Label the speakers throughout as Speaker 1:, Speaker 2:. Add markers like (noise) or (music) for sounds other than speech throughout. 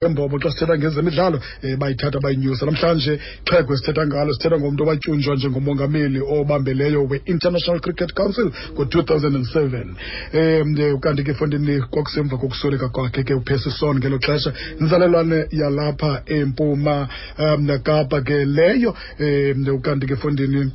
Speaker 1: embobo xa sithetha ngezemidlalo um bayithatha bayinyusa namhlanje xhego sithetha ngalo sithetha ngomntu owatyunjwa njengomongameli obambeleyo we-international cricket council ngo-2007 um kanti ke fondini kwakusemva kokusweleka kwakhe ke upesison ngelo xesha inzalelwane yalapha empuma um kapa ke leyo um kanti ke fondini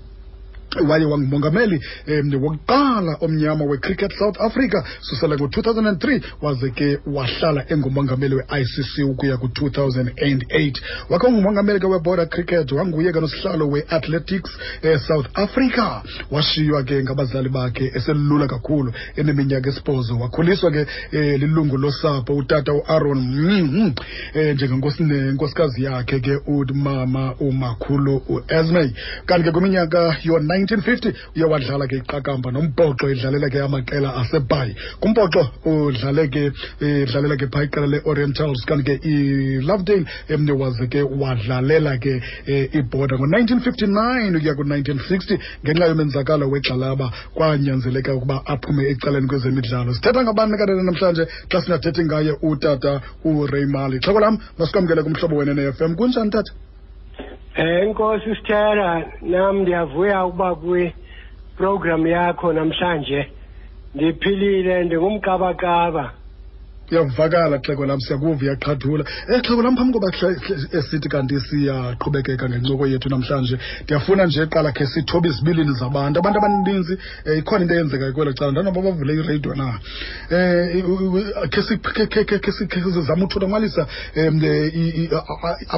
Speaker 1: waye wangumongameli um wokuqala omnyama wecricket south africa susela ngo-2003 waze ke wahlala engumongameli we-icc ukuya ku-2008 wakhe ngumongameli ke weborder cricket wanguye kanosihlalo we-athletics eh, south africa washiywa ke ngabazali bakhe eselula kakhulu eneminyaka esibhozo wakhuliswa ke eh, lilungu losapho utata uaaron mm -hmm. eh, njengenkosi- nenkosikazi yakhe ke umama umakhulu uesmay kanti ke kwiminyaka yo-9 1950 uye wadlala ke iqakamba nombhoxo edlalela ke amaqela asebhayi kumbhoxo udlale ke eh, udlalela ke phaa iqela le-orientals kanti ke ilovedale emne waze ke wadlalela ke eh, ibhoda ngo-1959 ukuya ku-1960 ngenxa yomenzakalo wegxalaba kwanyanzeleka ukuba aphume ecaleni kwezemidlalo sithetha ngabani kanene namhlanje xa singathethi ngaye utata ureymali xheko lam masikwamkele kumhlobo wene ne-fm kunjani tata
Speaker 2: Eh inkosi Stella nami ndiyavuya ukuba kwi program yakho namhlanje ndiphilile ndingumkabakaba
Speaker 1: uyavakala xheko lam siyakuva uyaqhathula um xheko lam phambi koba hle- hle- esithi kanti siyaqhubekeka ngencoko yethu namhlanje ndiyafuna nje qala khe sithobe izibilini zabantu abantu abaninzi um ikhona into eyenzekayo kwelo cala ndanoba bavule iradio na um khe si- khe- khe- khe- khe si- khe sizame uthothamalisa um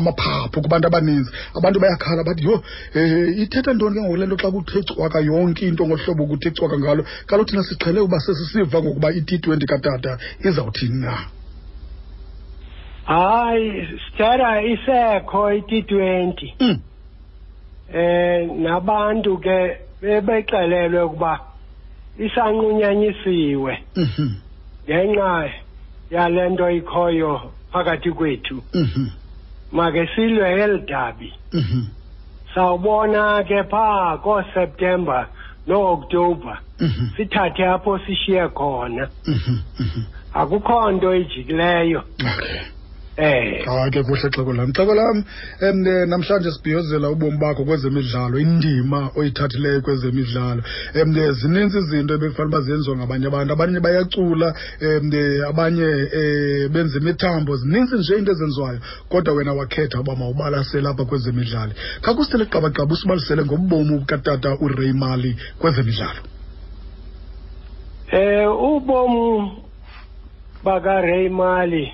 Speaker 1: amaphaphu kubantu abaninzi abantu bayakhala bathi yho um ithetha ntoni ke ngoku le nto xa kuthe cwaka yonke into ngohlobo kuthe cwaka ngalo kaloku thina siqhele uba sesisiva ngokuba i-t twenty katata izawuthini na
Speaker 2: hayi Stella isekho i-T20
Speaker 1: Mm.
Speaker 2: eh nabantu ke bebexelelwe ukuba isanqunyanyisiwe
Speaker 1: Mhm.
Speaker 2: ngenxa yalento ikhoyo phakathi kwethu
Speaker 1: Mhm.
Speaker 2: make silwe elidabi
Speaker 1: Mhm.
Speaker 2: sawubona ke phaa koSeptember noOctober
Speaker 1: Mhm.
Speaker 2: sithathe apho sishiye khona
Speaker 1: Mhm. Mhm.
Speaker 2: akukho nto ijikileyo
Speaker 1: okay
Speaker 2: eh
Speaker 1: hayi ke kuhle xeko lam xeko lam um namhlanje sibhiyozela ubomi bakho kwezemidlalo indima oyithathileyo kwezemidlalo um zininzi izinto ebekufanele uba ziyenziwa ngabanye abantu abanye bayacula um abanye um benza imithambo zininzi nje into ezenziwayo kodwa wena wakhetha uba mawubalasele apha kwezemidlalo khakusithele qabaqaba usibalisele ngobomi katata ureymali kwezemidlalo
Speaker 2: eh ubomu baka Raymali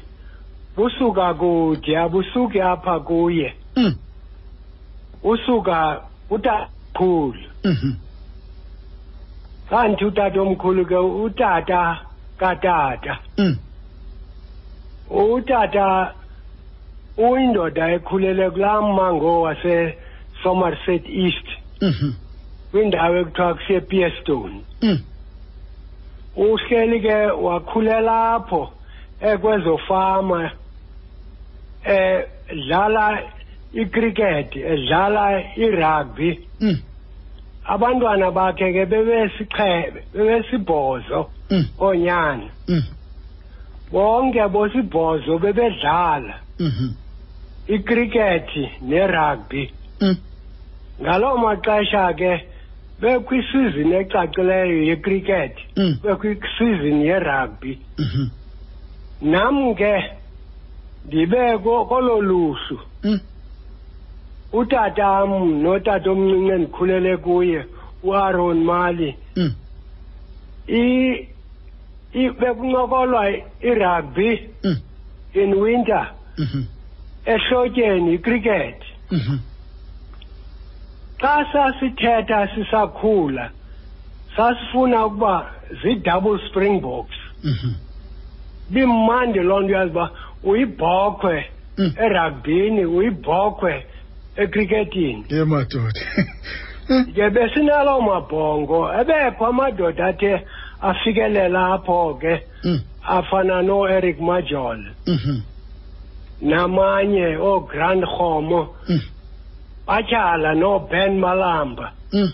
Speaker 2: busuka kude abusuki apha kuye
Speaker 1: Mm,
Speaker 2: usuka utakhulu
Speaker 1: mhm,
Speaker 2: kanti utatomkhulu ke utata katata
Speaker 1: mm,
Speaker 2: utata uyindoda ekhulele kulaa mmango wasesomerset east
Speaker 1: mhm,
Speaker 2: kwindawo ekuthiwa kusepierstone
Speaker 1: mm,
Speaker 2: uhleli ke wakhulela apho ekwezofama eh dlala icricket edlala irugby
Speaker 1: mm,
Speaker 2: abantwana bakhe ke bebesichebe bebesibhozo
Speaker 1: mm,
Speaker 2: onyana
Speaker 1: mm,
Speaker 2: bonke bosibhozo bebedlala
Speaker 1: mhm,
Speaker 2: icricket nerugby
Speaker 1: mm,
Speaker 2: ngaloo maxesha ke bekwisizini ecacileyo yecricket
Speaker 1: mm,
Speaker 2: bekwisizini yerugby
Speaker 1: mhm,
Speaker 2: nam ke ndibe ko- kolo luhlu
Speaker 1: mm.
Speaker 2: utatam notatomncinci endikhulele kuye uaaron mali
Speaker 1: Mm,
Speaker 2: i- i- bekuncokolwa i- irugby
Speaker 1: mm,
Speaker 2: in winter
Speaker 1: mhm,
Speaker 2: ehlotyeni icricket
Speaker 1: mhm,
Speaker 2: xa sasithetha sisakhula sasifuna ukuba zii-double springboks
Speaker 1: mhm,
Speaker 2: bimandi loo nto uyazi uba uyibhokhwe
Speaker 1: mm.
Speaker 2: erugbini uyibhokhwe ecricketini
Speaker 1: ye (laughs) madoda Mm,
Speaker 2: ke besinaloo mabhongo ebekho amadoda athe afikelela apho ke
Speaker 1: mm,
Speaker 2: afana noeric majol
Speaker 1: mhm,
Speaker 2: namanye oogrand homo
Speaker 1: mm,
Speaker 2: batyhala noben malamba
Speaker 1: mm,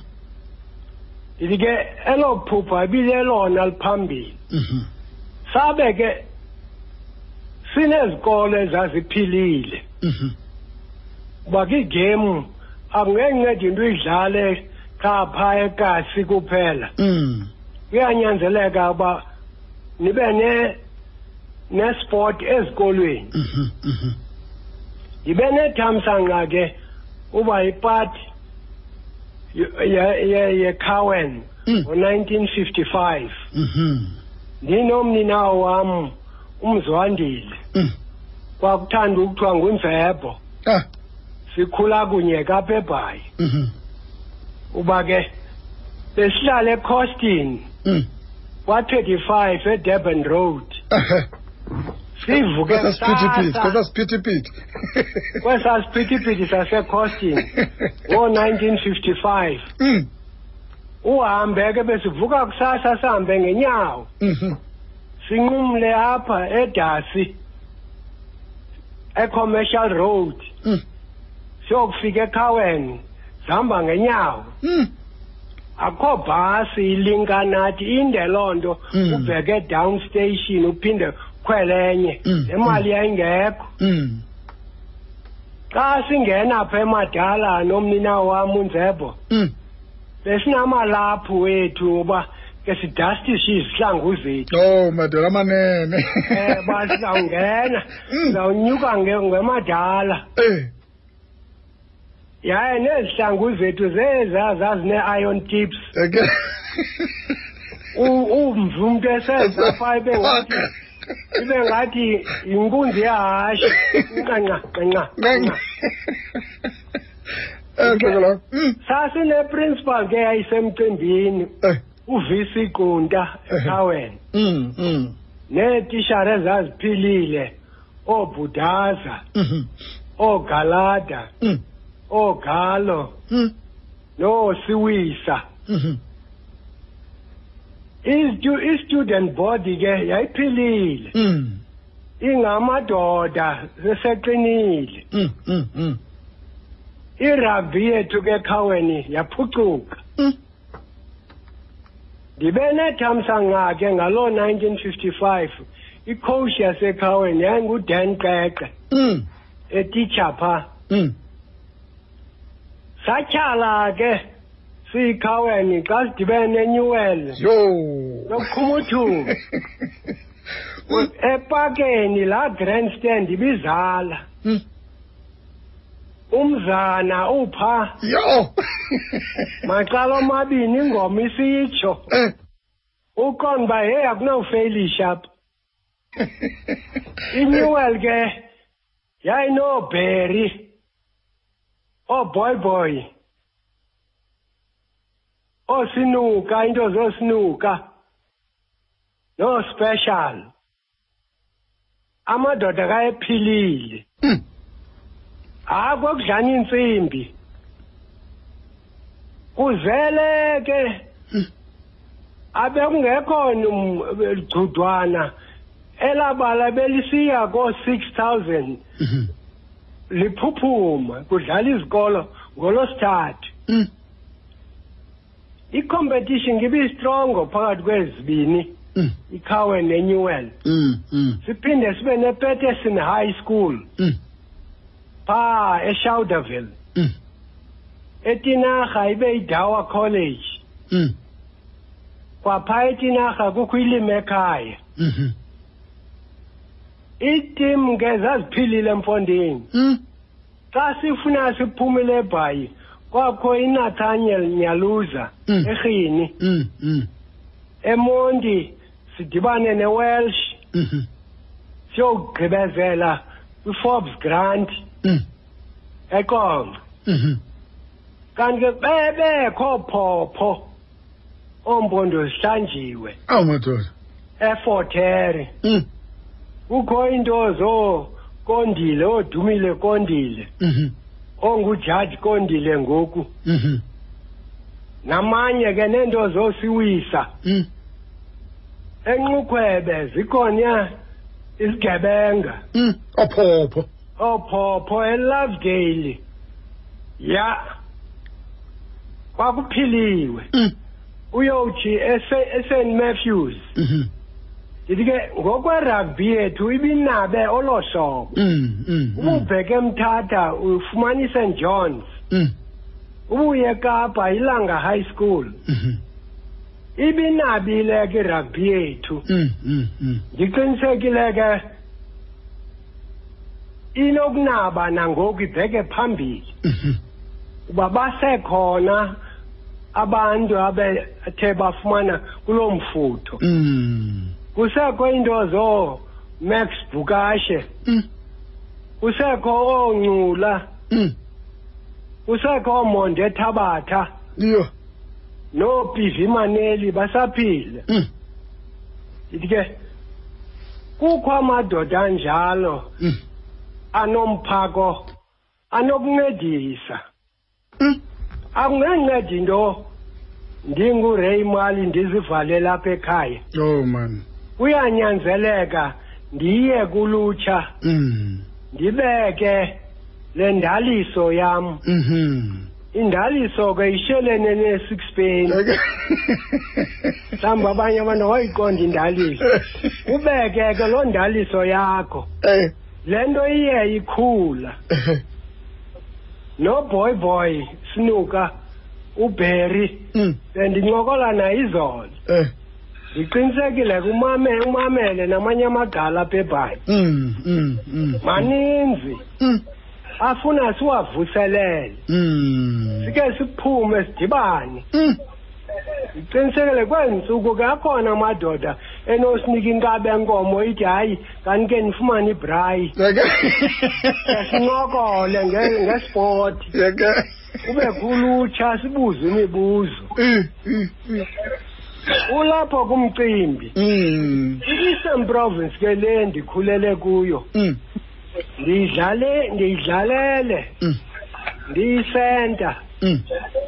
Speaker 2: ndithi ke elo
Speaker 1: uhum,
Speaker 2: phupha ibilelona liphambili
Speaker 1: mhm,
Speaker 2: sabe ke sinezikolo ezaziphilile
Speaker 1: Mhm.
Speaker 2: kuba kigemu akungenceda into uyidlale khapha ekasi kuphela
Speaker 1: Mm.
Speaker 2: kuyanyanzeleka uba nibe ne nesport ezikolweni
Speaker 1: Mhm. Mhm.
Speaker 2: yibe nethamsanqa ke uba yipati yecowen
Speaker 1: Mm.
Speaker 2: ngo-1955
Speaker 1: Mhm.
Speaker 2: ndinomninawo wam umzwandile
Speaker 1: Mm.
Speaker 2: kwakuthanda ukuthiwa ngumvebho
Speaker 1: Ah.
Speaker 2: sikhula kunye kaphebhayi
Speaker 1: Mhm.
Speaker 2: uba ke besihlala ecostin
Speaker 1: Mm.
Speaker 2: kwa-35 edurban road
Speaker 1: Ehe.
Speaker 2: sivuke
Speaker 1: Kwesasiphithiphithi,
Speaker 2: kusasa
Speaker 1: kwesasiphithiphithi.
Speaker 2: kwesaa siphithiphithi sasecostin
Speaker 1: (laughs)
Speaker 2: Oh, ngo-1955
Speaker 1: Mm.
Speaker 2: uhambe Oh, ke besivuka kusasa sihambe ngenyawo
Speaker 1: Mhm.
Speaker 2: sinqumle apha edasi ecommercial road
Speaker 1: Mm.
Speaker 2: siyokufika ekhaweni sihamba ngenyawo
Speaker 1: Mm.
Speaker 2: akho bhasi ilinkanathi inde loo nto
Speaker 1: Mm.
Speaker 2: ubheke down station uphinde khwelenye
Speaker 1: Mm,
Speaker 2: le mali
Speaker 1: mm.
Speaker 2: yayingekho
Speaker 1: Mm.
Speaker 2: xa singena pha emadala nomnina wam unzebo
Speaker 1: Mm.
Speaker 2: besinamalaphu wethu uba ke sidastishe izihlangu zethu
Speaker 1: Oh, madala manene.
Speaker 2: um ba sizawungena
Speaker 1: Mm.
Speaker 2: sizawunyuka nge- ngemadala
Speaker 1: Eh.
Speaker 2: yaye nezihlangu zethu zeza zazine-iron tips
Speaker 1: Okay.
Speaker 2: U- umva umntu esezapha ibe ngathi ibe ngathi yinkunzi yehashe nqanqa nqanqa nqanqa.
Speaker 1: Ngiyakuzwa. Mm.
Speaker 2: sasineprincipal ke yayisemcimbini
Speaker 1: Eh.
Speaker 2: uvisa iqunta
Speaker 1: Ehe.
Speaker 2: ekhawena
Speaker 1: Mm. Mm.
Speaker 2: neetishara ezaziphilile oobhudaza
Speaker 1: Mhm.
Speaker 2: oogalada
Speaker 1: Mm.
Speaker 2: oogalo
Speaker 1: Mm.
Speaker 2: noosiwisa
Speaker 1: Mhm.
Speaker 2: Istu- i-student body ke yayiphilile
Speaker 1: Mm.
Speaker 2: ingamadoda seseqinile
Speaker 1: Mm. Mm. Mm.
Speaker 2: irugby yethu ke khaweni yaphucuka
Speaker 1: Mm.
Speaker 2: ndibe nethamsanqa ke ngaloo 1955 icoach yasekhaweni yayingudan qeqe
Speaker 1: Mm.
Speaker 2: etitsha phaa
Speaker 1: Mm.
Speaker 2: satyhala ke siyikhaweni xa sidibene nenyuwele
Speaker 1: Yo. (laughs)
Speaker 2: Nokukhumuthu.
Speaker 1: Mm,
Speaker 2: epakeni laa grandstand ibizala
Speaker 1: Mm.
Speaker 2: umzana upha
Speaker 1: Yo. (laughs)
Speaker 2: macala omabini ingoma isitsho
Speaker 1: Eh.
Speaker 2: uqonda uba heyi akunawufeylisha apha inewl ke yayinoobheri Oh, ooboyboy oosinuka into zoosinuka noospecial amadoda kayephilile
Speaker 1: Mm.
Speaker 2: hayi kwakudlana iintsimbi kuzele ke
Speaker 1: Mm.
Speaker 2: abekungekho gcudwana elabala belisiya koo-six thousand
Speaker 1: Mhm.
Speaker 2: liphuphuma kudlala izikolo ngolosithathu
Speaker 1: Mm.
Speaker 2: icompetition ngibistrongo phakathi kwezibini
Speaker 1: Mm.
Speaker 2: ikhawe nenewell
Speaker 1: Mm. Mm.
Speaker 2: siphinde sibe nepeterson high school
Speaker 1: Mm.
Speaker 2: phaa eshowderville
Speaker 1: Mm.
Speaker 2: etinarha ibe idawa college
Speaker 1: Mm.
Speaker 2: kwaphaa etinarha kukho ilimi ekhaya
Speaker 1: Mhm.
Speaker 2: iitim ke zaziphilile emfondeni
Speaker 1: Mm.
Speaker 2: xa sifuna siphumile ebhayi kwakho inathaniel nyaluza
Speaker 1: Mm.
Speaker 2: erhini
Speaker 1: Mm. Mm.
Speaker 2: emonti sidibane newelsh
Speaker 1: Mhm.
Speaker 2: siyowugqibezela kwiforbes grant
Speaker 1: Mm.
Speaker 2: eqonga
Speaker 1: Mhm.
Speaker 2: kanti ke bebekho phopho oompondo zihlanjiwe
Speaker 1: Awu madoda.
Speaker 2: efotere
Speaker 1: Mm.
Speaker 2: kukho iinto zookondile oodumile kondile
Speaker 1: Mhm.
Speaker 2: ongujaji kondile ngoku
Speaker 1: Mhm.
Speaker 2: namanye ke neento zoosiwisa
Speaker 1: Mm.
Speaker 2: enqukhwebe zikhona isigebenga
Speaker 1: Mm. Ophopho.
Speaker 2: oophopho elovedale ya kwakuphiliwe
Speaker 1: Mm.
Speaker 2: uyowuthi ese- eSt Matthews
Speaker 1: Mhm.
Speaker 2: ndithi ke ngokwerugby yethu ibinabe olo hlobo
Speaker 1: Mm, mm, mm,
Speaker 2: ububheke emthatha ufumanise johns
Speaker 1: mm,
Speaker 2: ubuye kapa ilanga high school
Speaker 1: mhm,
Speaker 2: ibinabile ke irugby yethu
Speaker 1: mm, mm, mm.
Speaker 2: ndiqinisekile ke inokunaba nangoku ibheke phambili
Speaker 1: Mhm.
Speaker 2: kuba basekhona abantu abethe bafumana kuloo mfutho
Speaker 1: Mm,
Speaker 2: kusekho iinto zoomax bukashe
Speaker 1: mm,
Speaker 2: kusekho oongcula
Speaker 1: mm.
Speaker 2: kusekho oomonde thabatha
Speaker 1: Yho,
Speaker 2: noopivi maneli basaphile
Speaker 1: mm,
Speaker 2: ndithi ke kukho amadoda anjalo
Speaker 1: mm,
Speaker 2: anomphako anokuncedisa
Speaker 1: mm.
Speaker 2: akungancedi into ndinguRay Mali ndizivale lapha ekhaya
Speaker 1: Oh man.
Speaker 2: kuyanyanzeleka ndiye kulutsha
Speaker 1: Mm,
Speaker 2: ndibeke le ndaliso yam
Speaker 1: mhm.
Speaker 2: indaliso ke ishelene ne-sixpeni mhlawumbi abanye abantu awayiqonda indaliso ubeke ke loo ndaliso yakho
Speaker 1: Eh,
Speaker 2: le nto iye ikhula noboy boy snuka uberry
Speaker 1: mm,
Speaker 2: bendincokola naye izolo
Speaker 1: eh,
Speaker 2: ndiqinisekile kumame umamele namanye amagqala apha ebhayi
Speaker 1: mm, mm, mm,
Speaker 2: maninzi
Speaker 1: mm,
Speaker 2: afuna siwavuselele
Speaker 1: mm,
Speaker 2: sike siphume sidibane
Speaker 1: mm.
Speaker 2: ndiqinisekile kweentsuku ke akhona amadoda enosinika inkaba enkomo ithi hayi kanti ke ndifumane ibrayi sincokole nge- ngesipoti
Speaker 1: Yeke.
Speaker 2: kube kulutsha sibuze imibuzo
Speaker 1: Mm, mm, mm.
Speaker 2: ulapho kumcimbi
Speaker 1: Mm,
Speaker 2: i-eastern province ke le ndikhulele kuyo
Speaker 1: mm,
Speaker 2: ndiyidlale ndiyidlalele
Speaker 1: mm,
Speaker 2: ndiyisenta
Speaker 1: mm,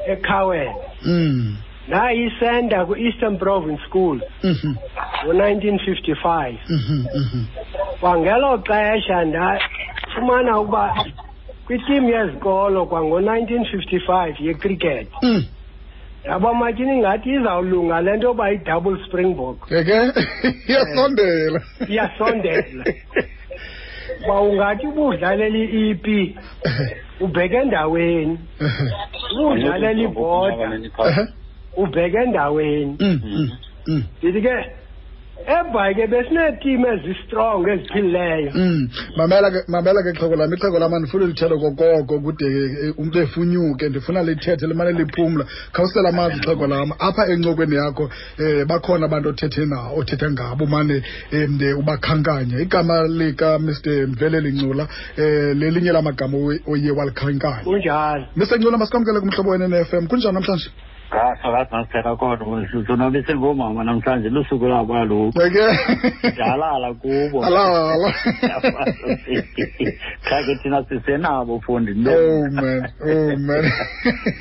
Speaker 2: ekhawena
Speaker 1: mm,
Speaker 2: ndayisenta kwi-eastern province school
Speaker 1: mhm,
Speaker 2: ngo-1955
Speaker 1: mhm, mhm.
Speaker 2: kwangelo xesha ndafumana ukuba kwitim yezikolo kwango-1955 yecricket
Speaker 1: Mm,
Speaker 2: ndaba matyini ingathi izawulunga le nto yoba yi-double springbok
Speaker 1: Yeke. Iyasondela.
Speaker 2: Iyasondela. uba ungathi ubudlalela i-ep ubheke endaweni ubudlalela ibhoda ubheke endaweni
Speaker 1: Mm, mm, mm.
Speaker 2: ndithi ke ebhayi ke besineetim ezistrong eziphilileyo
Speaker 1: Mm. mamela ke mamela ke xhego lam ixhego lam andifuna lithethe kokoko kude ke, eh, umntu efunyuke ndifuna lithethe limane liphumla khawusela amazi xhego lam apha encokweni yakho eh, bakhona abantu othethe na othethe ngabo umane em, de, ubakhankanya igama lika mr mveleli ncula eh, lelinye lamagama oye- oye walikhankanya
Speaker 2: kunjalo
Speaker 1: mr ncula masikwamkele kumhlobo wene ne-fm kunjani namhlanje
Speaker 3: ngakho ngasithetha kodwa sonwabise ngomama namhlanje lusuku labo kaloku
Speaker 1: (laughs) eke
Speaker 3: ndalala kubo (laughs)
Speaker 1: alala
Speaker 3: qha ke thina sisenabo fundi
Speaker 1: Oh man, oh
Speaker 3: (laughs)
Speaker 1: man.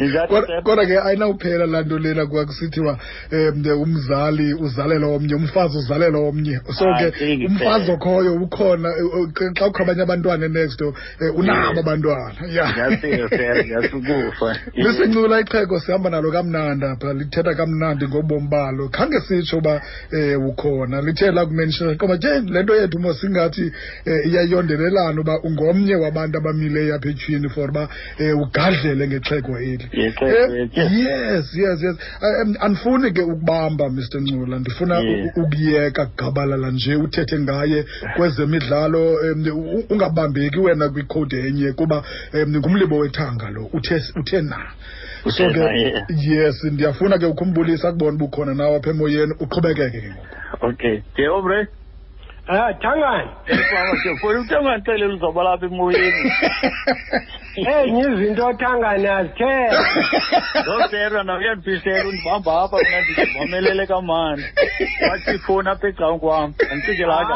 Speaker 3: Ndingathi
Speaker 1: Kodwa-
Speaker 3: ke-
Speaker 1: Kodwa ke ayinawuphela laa nto lena kwakusithiwa um umzali uzalela omnye, umfazi uzalela omnye. So
Speaker 3: Ah,
Speaker 1: ke
Speaker 3: singithe.
Speaker 1: umfazi okhoyo ukhona eh, eh, ke xa kukho abanye abantwana next door eh, unabo
Speaker 3: Yes.
Speaker 1: abantwana. Yeah.
Speaker 3: Ndiyasiva,
Speaker 1: (laughs)
Speaker 3: Fer, ndiyasukuva.
Speaker 1: Lisincula ixhego sihamba nalo kamnandi apha lithetha kamnandi ngobomi balo khange sitsho uba um ukhona lithe lakumenshona qoba nje le nto yethu mo singathi um iyayondelelana uba ungomnye wabantu abamileyo apha etyhwini for uba um ugadlele ngexhego eli
Speaker 3: Ngexhego
Speaker 1: Eh,
Speaker 3: eli,
Speaker 1: yes
Speaker 3: yes.
Speaker 1: yes yes Eh, em, andifuni ke ukubamba mr ncula ndifuna
Speaker 3: Yes.
Speaker 1: u- ukuyeka gabalala nje uthethe ngaye kwezemidlalo em, u- ungabambeki wena kwikhowudi enye kuba em, ngumlibo wethanga lo uthe uthe na
Speaker 3: Uthe
Speaker 1: so
Speaker 3: na,
Speaker 1: ke
Speaker 3: yeah.
Speaker 1: yes ndiyafuna ke ukhumbulisa akubona uba ukhona nawe apha emoyeni uqhubekeke ke ngoku
Speaker 3: okay ke omre
Speaker 2: um (laughs) thangani
Speaker 3: foni uthe unganixeleli uzoba lapha emoyeni
Speaker 2: enye izinto thangani (laughs) azithethe
Speaker 3: noserwa na uyandifisela undibamba apha mna ndizibomelele kamandi wathi ifoni apha ecawu kwam
Speaker 2: hayi
Speaker 3: andicingelanga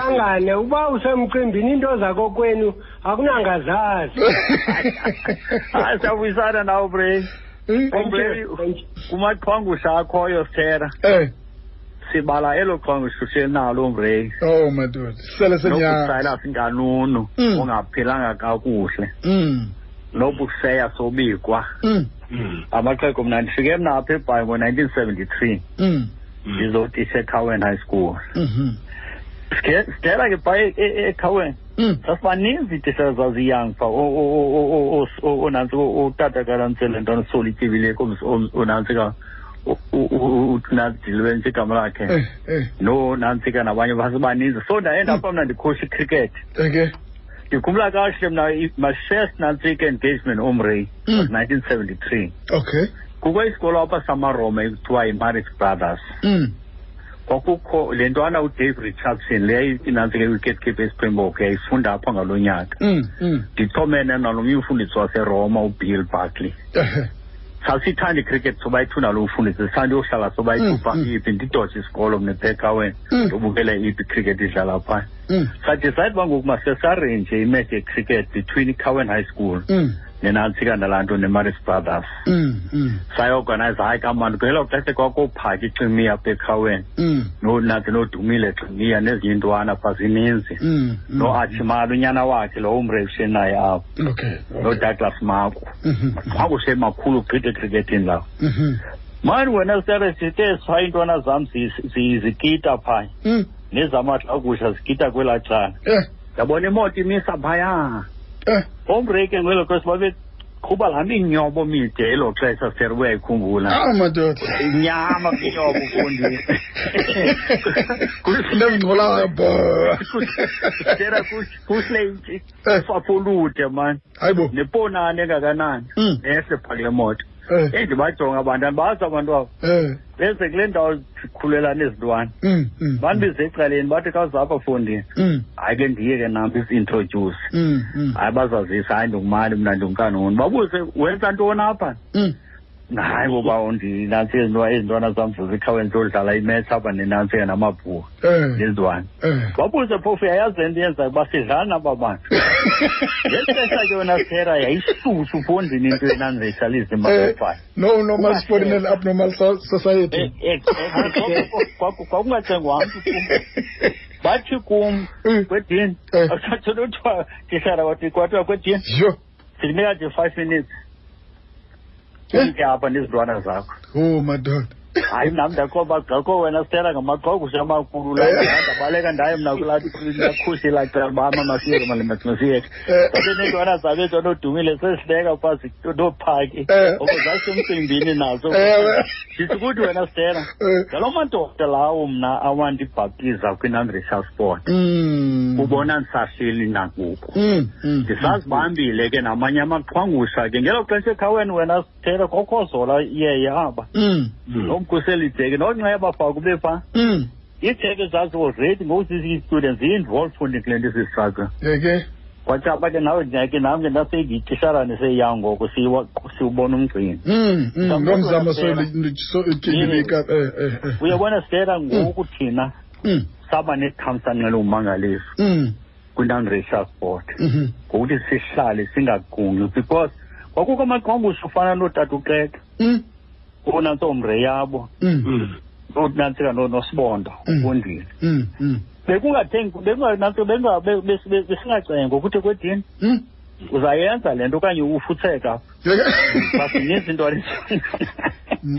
Speaker 2: thangane uba usemcimbini iinto zakokwenu akunangazazi
Speaker 3: hayi siyabuyisana nawo bre
Speaker 1: Eh,
Speaker 3: Omre kumaqhwangusha akhoyo sera
Speaker 1: eh
Speaker 3: sibala elo qhwangusha usenalo mreyi
Speaker 1: oh madoda sele senyanga
Speaker 3: nokusayilas nganunu
Speaker 1: Mm.
Speaker 3: ongaphilanga kakuhle
Speaker 1: mm
Speaker 3: nobuseya sobikwa
Speaker 1: mm
Speaker 3: amaxhego mna ndifike mna apha ebhayi ngo-nineteen seventy three
Speaker 1: mm
Speaker 3: ndizotisha ecowen high school
Speaker 1: mhm
Speaker 3: Sike- sidela ke phaa e- e- eqhaweni
Speaker 1: Mm.
Speaker 3: sasibaninzi tisazaziyanga phaa O- o- o- o- o- o- o- onantsi o- utata kalantsele ntwana usolityibileko onantsi ka unadilibentsha igama
Speaker 1: Eh,
Speaker 3: lakhe
Speaker 1: eh,
Speaker 3: no nantsi ka nabanye basibaninzi so ndaye ndapha mna ndikhosha icricket
Speaker 1: okay.
Speaker 3: ndikhumbula kakuhle mna i- my first nantsi ke engagement omray
Speaker 1: Mm.
Speaker 3: was nineteen seventy three
Speaker 1: Okay.
Speaker 3: kukho isikolo apha samaroma ekuthiwa yimaris brothers
Speaker 1: Mm.
Speaker 3: kwakukho le ntwana udave richardson le inantsi ke wicket keeper espringbok yayifunda apha ngalo nyaka
Speaker 1: Mm. Mm.
Speaker 3: ndixhomene nalomnye umfundisi waseroma ubill buckley
Speaker 1: Eh,
Speaker 3: sasithanda icricket sobayi-two nalo mfundisi sithanda uyohlala sobayi-two
Speaker 1: Mm,
Speaker 3: phaa
Speaker 1: mm.
Speaker 3: iphi ndidoje isikolo mna ebhekaweni
Speaker 1: Mm.
Speaker 3: ndobukela iphi icricket idlala phaa
Speaker 1: Mm.
Speaker 3: sadicide uba ngoku masesarenje imatch yecricket between icowen high school
Speaker 1: Mm.
Speaker 3: nenantsi kandalanto nemaris brothers
Speaker 1: Mm. Mm.
Speaker 3: sayorganize hayi kamani kwelo xesha kwakophaka icimiya apha ecowen
Speaker 1: Mm.
Speaker 3: nonathi nodumile ximiya nezinye iintwana phaa zininzi
Speaker 1: Mm.
Speaker 3: noachimala unyana wakhe lo umrevishe naye apho
Speaker 1: Okay. okay.
Speaker 3: nodouglas mako
Speaker 1: Mhm,
Speaker 3: makushemakhulu gqitha ecricketini lawo
Speaker 1: mhm.
Speaker 3: mani wena sere sithe sha iintwana zam zi- zi- zikita phaya
Speaker 1: Mm.
Speaker 3: nezamaxakusha zikita kwelaa cala
Speaker 1: Eh,
Speaker 3: ndabona imoto imisa phaya
Speaker 1: eh.
Speaker 3: omreke ngelo xesha babeqhuba laa minyobo mide elo xesha sere uyayikhumbula
Speaker 1: Ah, madoda.
Speaker 3: Inyama, minyobo,
Speaker 1: (laughs)
Speaker 3: mfundisi.
Speaker 1: Nemngcola
Speaker 3: Ah. (laughs)
Speaker 1: bho.
Speaker 3: sera kuhle
Speaker 1: Eh,
Speaker 3: fafolude mani
Speaker 1: Hayibo.
Speaker 3: neponane engakanani
Speaker 1: Mm.
Speaker 3: ehle phaa kule moto
Speaker 1: Eh,
Speaker 3: endibajonga abantwana baza abantwabo
Speaker 1: eh.
Speaker 3: beze kule ndawo zikhulelana ezintwana
Speaker 1: Mm. Mm.
Speaker 3: bandibize ecaleni bathi kazapha fondini
Speaker 1: Mm.
Speaker 3: hayi ke ndiye ke nam isintroduce
Speaker 1: Mm. Mm.
Speaker 3: hayi bazazisa hayi ndingumali mna ndingumkanoni babuse wenza ntoni apha
Speaker 1: Mm.
Speaker 3: hayi kuba ndinantsi ezintwa ezintwana zam zizikhaweni zodlala imetsh apha nenantsi ke namabhuka
Speaker 1: Eh.
Speaker 3: nezintwana
Speaker 1: Eh.
Speaker 3: babuse phofu yayazi ento yenzayo uba sidlala naba bantu ngesixesha ke yona sera yayishushu fondini into enandizayihlalisile
Speaker 1: Eh,
Speaker 3: mabefayo
Speaker 1: no normal sporting and abnormal so-
Speaker 3: Eh,
Speaker 1: society.
Speaker 3: kwakungacengwamntu bathi kum
Speaker 1: Mm.
Speaker 3: kwedini
Speaker 1: Eh.
Speaker 3: asathela uthiwa tisara wathi kwathiwa kwedini
Speaker 1: Yho.
Speaker 3: ndikunika nje five minutes
Speaker 1: Eh.
Speaker 3: uye apha nezintwana zakho
Speaker 1: Oh, madoda.
Speaker 3: hayi nam ndakho bagqakho wena sitela ngamagqogusha amakhulu la
Speaker 1: Eh.
Speaker 3: ndabaleka ndaye mna kulakhushi lacela uba ama masiyeke malimathi masiyeke
Speaker 1: Eh.
Speaker 3: sabeneentwana zabo eentwana odumile sezibeka phasi noophaki
Speaker 1: Eh.
Speaker 3: oko zasemcimbini nazo
Speaker 1: Ewe.
Speaker 3: ndithi ukuthi wena sitela
Speaker 1: Eh.
Speaker 3: ngaloo madoda lawo mna awandibhaptiza kwinandresha sport
Speaker 1: Mm.
Speaker 3: ubona ndisahleli nangoku
Speaker 1: Mm. Mm.
Speaker 3: ndisazibambile ke namanye amaqhwangusha ke ngelo xesha ekhaweni wena sithele kokozola yeye aba
Speaker 1: Mm.
Speaker 3: nomkhuselideke nonxeba phaa kube phaa
Speaker 1: Mm.
Speaker 3: iitheke zazioredi ngoku sisi-students yi-involved fundi kule nto sizistruggle
Speaker 1: Yeke.
Speaker 3: kwatyapa ke nawe ndiyake nam ke ndasendiyititsharane seyiya ngoku siwa- siwubona umgcini
Speaker 1: Mm. Mm.
Speaker 3: Ndisazibona
Speaker 1: Nomzamo so
Speaker 3: phela.
Speaker 1: so ityilika eh eh. eh.
Speaker 3: uyabona sitela ngoku thina
Speaker 1: Mm.
Speaker 3: saba nethamsanqelo umangaliso
Speaker 1: Mm.
Speaker 3: kwinandresha sport
Speaker 1: Mhm.
Speaker 3: ngokuthi sihlale singagungqi because kwakukho amaqhwangusha ufana nootata uqeka
Speaker 1: Mm.
Speaker 3: unantsombre yabo
Speaker 1: Mm.
Speaker 3: unantsika nosibondo
Speaker 1: Mm.
Speaker 3: ufundile
Speaker 1: Mm. Mm.
Speaker 3: bekungathengi bekunganantsi- benga- be- bes- bes- besingacenga ukuthi kwedini
Speaker 1: Mm.
Speaker 3: uzayenza le nto okanye ufutheka
Speaker 1: Yeke. (laughs)
Speaker 3: basininzi into
Speaker 1: Mm.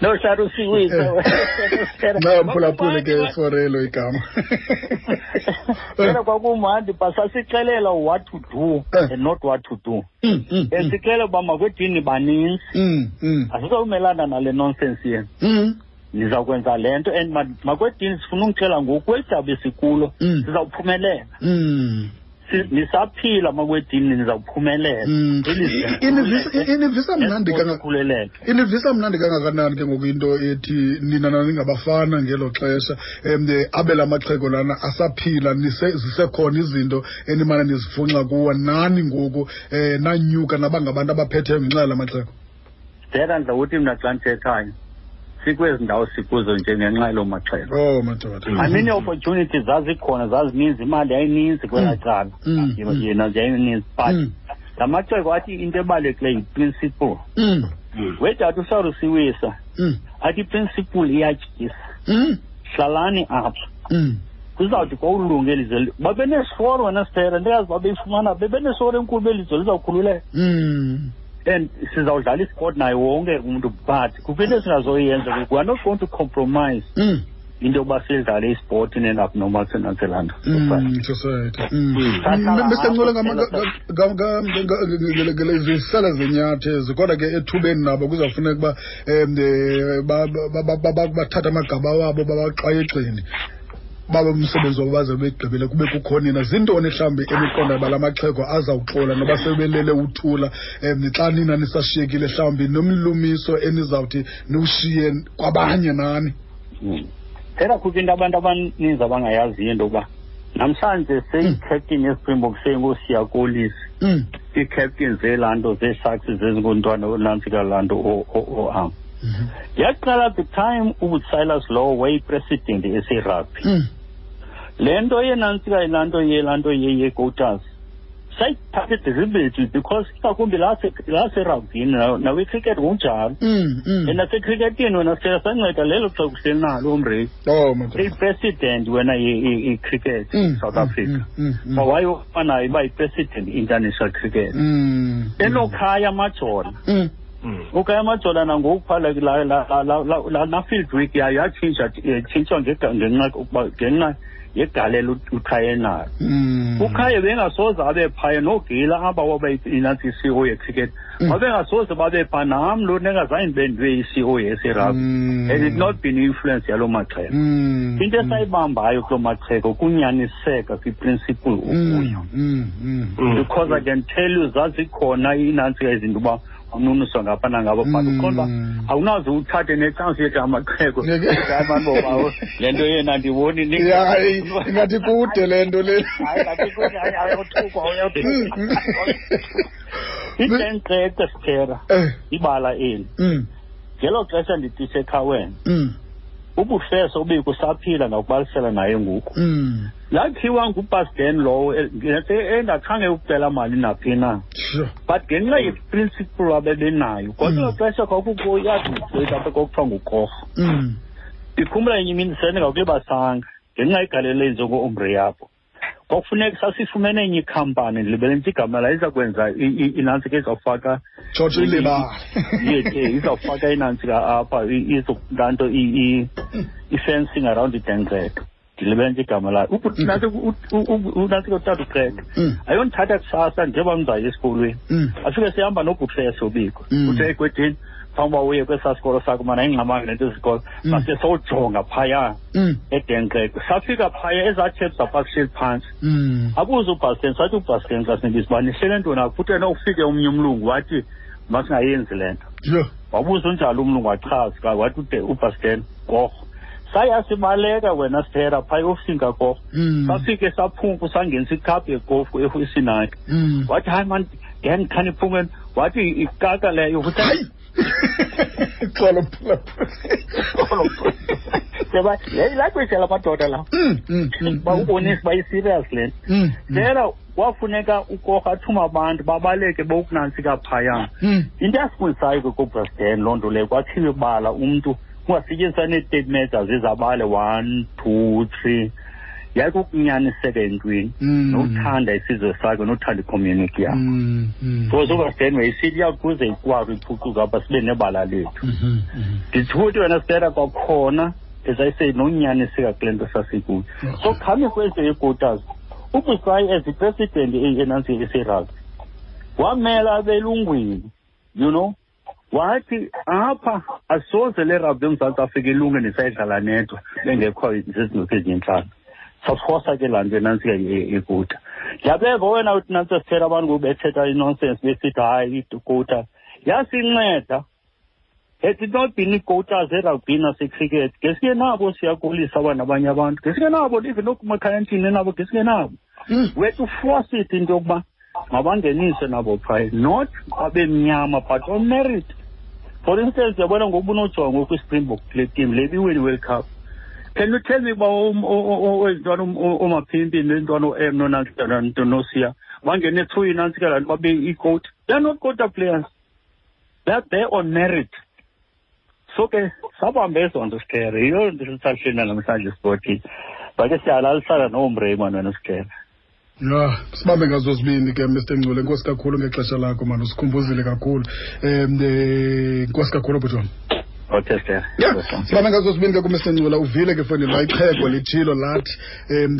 Speaker 3: noshara
Speaker 1: Eh. (laughs) Nayo mphulaphuli ke
Speaker 3: (laughs)
Speaker 1: sorelo igama. (laughs)
Speaker 3: kodwa kwakumandi ba sasixelela what to do
Speaker 1: Eh.
Speaker 3: and not what to do
Speaker 1: Mm, mm, mm.
Speaker 3: esixelela uba makwedini baninzi
Speaker 1: Mm, mm,
Speaker 3: asizokumelana nale nonsense yenu
Speaker 1: mm,
Speaker 3: ndizawukwenza le nto and ma- makwedini sifuna ungixela ngoku kweli daba esikulo
Speaker 1: Mm.
Speaker 3: sizawuphumelela
Speaker 1: mm,
Speaker 3: Si- nisaphila makwedini nizawuphumelela
Speaker 1: mm.
Speaker 3: Ilizwe-
Speaker 1: Inivisa- i- inivisa mnandi kanga-
Speaker 3: Esikhuleleke.
Speaker 1: inivisa mnandi kangakanani ke ngoku into ethi nina nani ngabafana ngelo xesha um abela amaxhego lana asaphila nise- zisekhona izinto enimana nizifunxa kuwo nani ngoku um nanyuka nabangabantu abaphetheyo ngenxa yala maxhego
Speaker 3: Dela ndawuthi mna xa ndithethayo sikwezi ndawo sikuzo njengenxa yelo maxhelo
Speaker 1: oh madoda
Speaker 3: amini opportunities zazikhona zazininzi imali yayininzi kwela
Speaker 1: Mm.
Speaker 3: cala
Speaker 1: Mm. Mm.
Speaker 3: yena yayininzi
Speaker 1: Mm.
Speaker 3: but la maxhego athi into ebalulekileyo yiprinciple
Speaker 1: Mm,
Speaker 3: wedade usarusiwisa
Speaker 1: mm,
Speaker 3: athi iprinciple iyatyisa
Speaker 1: mm,
Speaker 3: hlalani apha
Speaker 1: mm.
Speaker 3: kuzawuthi kwawulunga elizwe babenesoro wena sitera ndikazi babeyifumana bebenesoro enkulu belizwe lizawukhululeka
Speaker 1: Mm.
Speaker 3: and sizawudlala isport naye wonke umntu but kukho into esingazoyenza we are not going to compromise
Speaker 1: Mm.
Speaker 3: into yokuba sidlale ispoti ne-abnormal senanselanda
Speaker 1: Mm, society Mm.
Speaker 3: Mm.
Speaker 1: Mm, Mr. Ncube, ngama- ga- ga- ga- ga- ga- ga- ga- zisele zinyathezi kodwa ke ethubeni nabo kuzafuneka uba um bathathe amagaba wabo babaxwaye egxini babe umsebenzi wabo baze begqibile kube kukhona na zintoni mhlawumbi eniqonda uba la maxhego azawuxola noba sebelele uthula um xa nina nisashiyekile mhlawumbi nomlumiso enizawuthi niwushiye kwabanye nani
Speaker 3: phela kukho into abantu abaninzi abangayaziyo into yokuba namhlanje seyicaptain yespringbok seyinkoosiya kolisi
Speaker 1: Mm.
Speaker 3: ii-captain zelaa nto zeesharks zezingoontwana olantsika laa nto o- o- o-am
Speaker 1: Mhm.
Speaker 3: yaqala the time ubutsilas lowo wayeyipresident eserugby
Speaker 1: Mm.
Speaker 3: le nto yenantsika laa nto yelaa nto yeyegotas sayithathe deliberately because ingakumbi laserugbyini nawecricket kunjalo
Speaker 1: Mm. Mm.
Speaker 3: and nasecricketini wena sitela sanceda lelo xa kuhleli nalo omrei
Speaker 1: Oh, my God.
Speaker 3: ipresident wena ye- ye- icricket
Speaker 1: Mm,
Speaker 3: south
Speaker 1: mm,
Speaker 3: africa
Speaker 1: mm, mm,
Speaker 3: so wayofanayo iba yipresident international cricket
Speaker 1: Mm.
Speaker 3: enokhaya majola
Speaker 1: Mm.
Speaker 3: ukhaya majola nangoku phala la- la- la- la- la- la- la field week yayo yatshintsha yatshintshwa ngega- ngenxa ukuba- ngenxa yegalelo ut- ukhaya enayo
Speaker 1: Mm.
Speaker 3: ukhaya bengasoze abe phaya noogila aba waba inantsi i-co yecricket
Speaker 1: Mm.
Speaker 3: babengasoze babe phaa nam lo ndingazange bendiwe i-co yeserugby
Speaker 1: Mm.
Speaker 3: and it not been influence yaloo maxhela
Speaker 1: Mm.
Speaker 3: into
Speaker 1: Mm.
Speaker 3: esayibambayo kuloo macheko kunyaniseka kwiprinciple ukuyo
Speaker 1: Mm. Mm. Mm.
Speaker 3: because i can tell you zazikhona inantsika izinto uba umnuniswa ngapha nangabo but
Speaker 1: Mm.
Speaker 3: ukhona uba awunaze uthathe nechansi yethi
Speaker 1: (laughs)
Speaker 3: amacheko
Speaker 1: Neke-
Speaker 3: amanobao le nto yena ndiboni ni-
Speaker 1: Ya, hayi, ingathi kude le nto le
Speaker 3: Hayi, ngathi kude, hayi, uyathukwa, uyathukwa.
Speaker 1: Mm, mm.
Speaker 3: itenqeqe siphera
Speaker 1: Eh,
Speaker 3: ibala eli
Speaker 1: mm,
Speaker 3: ngelo xesha nditishe ekhaweni
Speaker 1: mm,
Speaker 3: ubufeso ubikusaphila ndakubalisela naye ngoku
Speaker 1: mm.
Speaker 3: lakhiwa ngupasden lowo el- ngese- engakhange ukucela mali naphi na
Speaker 1: Sure.
Speaker 3: but ngenxa yeprinciple abebenayo
Speaker 1: Mm.
Speaker 3: kwakelo xesha kwakukho iadministrate apha kwakuthiwa ngukorho
Speaker 1: Mm,
Speaker 3: ndikhumbula enye imini sendingakulibasanga ngenxa yegalelo eyenziwe ngo-ombre yapho kwakufuneka sasifumene enye ikhampani ndilibele nje igama la izakwenza inantsi ke izawufaka
Speaker 1: George
Speaker 3: Mm.
Speaker 1: Ulibala.
Speaker 3: yeke (laughs) izawufaka inantsi ka apha i- izo- laa nto i- i- i-fencing around idenkceka ndilibele nje igama layo unantsi kotata uqeka
Speaker 1: Mm,
Speaker 3: ayondithatha kusasa njengoba mzayo esikolweni
Speaker 1: mm,
Speaker 3: afike sihamba nobhutfese ubikho
Speaker 1: Mm.
Speaker 3: uthe egwedini phambi uba uye kwesaa sikolo sakho mana ingxamanga nento isikolo
Speaker 1: Mm.
Speaker 3: mase sowujonga phaya
Speaker 1: mm,
Speaker 3: edenkeke safika phaya ezaa tshep zapakuhleli phantsi
Speaker 1: mm.
Speaker 3: abuze ubhasteni sathi ubhasteni xa sinibisi uba nihlele ntoni apho uthe nokufike omnye umlungu wathi masingayenzi le nto
Speaker 1: Sure.
Speaker 3: wabuza unjalo umlungu wachazi ka wathi ude ubhasteni gorho saya sibaleka wena sithera phaya eofisini kagogo
Speaker 1: Mm,
Speaker 3: safike saphunku sangenisa ikhaphu yegofu ehoisinakhe
Speaker 1: mm.
Speaker 3: wathi hayi mani ndendikhaniphumeni wathi ikaka leyo
Speaker 1: (laughs)
Speaker 3: futhi
Speaker 1: Hayi. Xolo phulaphula.
Speaker 3: (laughs) seba yayilaxesha lamadoda la
Speaker 1: Mm, mm, mm,
Speaker 3: uba
Speaker 1: mm,
Speaker 3: ubonise uba i-serious le nto
Speaker 1: mm, mm,
Speaker 3: tela kwafuneka ukorha athume abantu babaleke bokunantsika phayana
Speaker 1: mm.
Speaker 3: into esifundisayo ke kubrasden loo nto leyo kwathiwe bala umntu kungasetyenziswa nee-state measures ezabale one two three yayikukunyaniseka entwini
Speaker 1: Mm.
Speaker 3: nokuthanda isizwe sakhe nokuthanda icommunity yakhe
Speaker 1: Mm, mm.
Speaker 3: because ubrasden wayisiya kuze ikwazi iphucuka apha sibe nebala lethu
Speaker 1: Mhm, mhm.
Speaker 3: ndithuthi wena sitera kwakhona as i say nonyaniseka kule nto sasikuyo so coming kwezo yekotas ubusayi as ipresident enansi eserugby wamela abelungwini you know wathi apha asoze le rugby emzantsi afrika ilunge nisayidlala nedwa bengekho zezinto ezintlanu saphosa ke laa nto enantsika ikota yabeva wena uthi nantsi esithela abantu ngoku bethetha inonsense besithi hayi ikota yasinceda it did not been ikota zerugby nasecricket ngesike nabo siyakolisa abana abanye abantu ngesike nabo even nokumakhayantini nabo ngesike nabo
Speaker 1: Mm.
Speaker 3: wethu force it into yokuba mabangeniswe nabo phaya not abemnyama but on merit for instance yabona ngoku unojonga kwi-springbok le team le biwini world cup can you tell me uba um- o- o- o- ezintwana um- o- omaphimpi neentwana o-m nonanto nosiya eh, bangene through inantsika lanto babe icoat they're not quota players they're there on merit so ke sabambe ezo nto sitere yiyo nto sisahlina namhlanje isipotini but ke siyahalalisana noomreyman wena sitere
Speaker 1: ya sibambe ngazo zibini ke mr ngcule inkosi é eh, kakhulu ngexesha lakho mani usikhumbuzile kakhulu um inkosi kakhulu bhuti wam
Speaker 3: otester
Speaker 1: ya sibambe ngazo sibini ke kumisengcula uvile ke fowunini la ixhego lithilo lathi um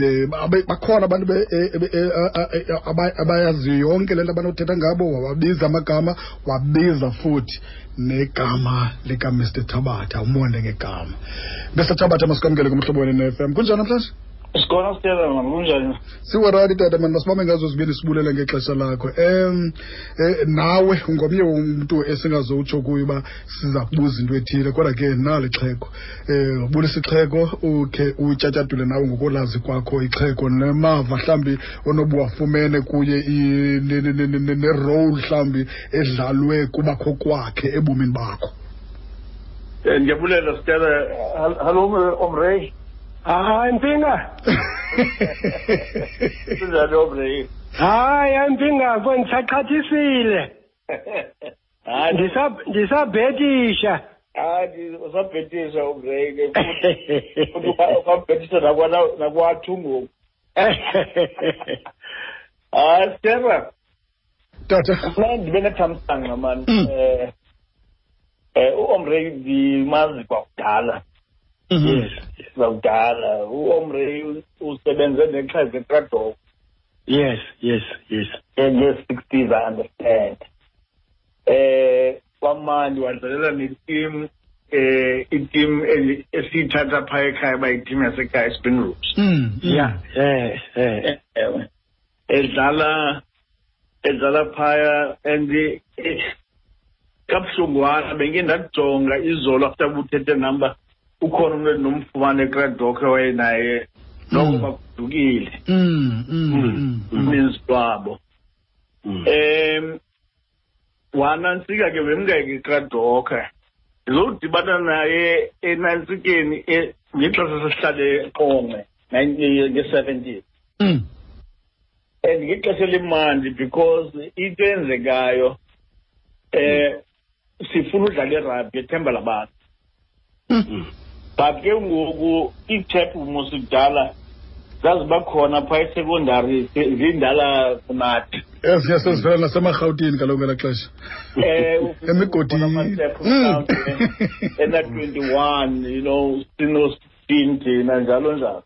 Speaker 1: bakhona abantu be- eh, eh, eh, ah, eh, ah, aba- abayaziyo yonke le nto abanothetha ngabo wababiza amagama wabiza futhi negama likamr thabatha umonde ngegama mr thabatha masikwamkele kumhlobo wene ne-fm kunjani namhlanje
Speaker 2: Pues
Speaker 3: sikhona sitela mama kunjani
Speaker 1: siwarati tata mani masibambe ngazo zibini sibulele ngexesha lakho um nawe ngomnye umntu esingazowutsho kuyo uba siza kubuza into ethile kodwa ke nalo ixhego um ubulisa ixhego ukhe utyatyadule nawe ngokolazi kwakho ixhego nemava mhlawumbi onobuwafumene kuye i- ne- ne- ne- ne- ne- nerole mhlawumbi edlalwe kubakho kwakhe ebomini bakho (laughs)
Speaker 4: Eh, ndiyabulela sitela hallo omrey
Speaker 2: hayi mpinga
Speaker 4: sinjani omrey
Speaker 2: hayi hayi mpinga ko ndisaxhathisile
Speaker 4: hayi
Speaker 2: Ndisa- ndisabhetisha
Speaker 4: hayi usabhetisa omrey ke futhi futhi uka- ukabhetisa nakwana- nakwathu ngoku hayi sitela
Speaker 1: tata
Speaker 4: mna ndibe nethamsanqa mani
Speaker 1: Mm.
Speaker 4: um um uomrey ndimazi kwakudala
Speaker 1: Mhm.
Speaker 4: kwakudala uomrey u- usebenze nexhezi ekradoko
Speaker 2: (laughs) yes yes yes
Speaker 4: in the sixties, I understand. Eh, kwamandi wadlalela netim eh itim esiyithatha phaa ekhaya uba yitim yasekhaya ispin roots
Speaker 1: Mm, mm.
Speaker 2: ya eh eh
Speaker 4: ewe edlala edlala phaya and eh, kabuhlungwana benke ndakujonga izolo after buthethe namba ukhona umntu endinomfumana ekradok wayenaye noko
Speaker 1: Mm.
Speaker 4: bakudukile
Speaker 1: Mm, mm, mm, mm.
Speaker 4: uninzi lwabo Mm. Em wanantsika ke bemngeke kaDoka. Ngizodibana naye enantsikeni eh, ngexesha sesihlale Qonqe nge-70s.
Speaker 1: Mm.
Speaker 4: And ngexesha elimandi because into enzekayo eh sifuna udlala irugby ethemba labantu.
Speaker 1: Mm.
Speaker 4: But ke ngoku iithep musidala zaziba khona phaa esecondary zi- zindala kunathi.
Speaker 1: ezinye sezivela nasemarhawutini kaloku ngela xesha
Speaker 4: Eh,
Speaker 1: Emigodini.
Speaker 4: ubona amatheko
Speaker 1: (laughs) Mm.
Speaker 4: mhlawumbi ena 21 you know sino 16 thina njalo njalo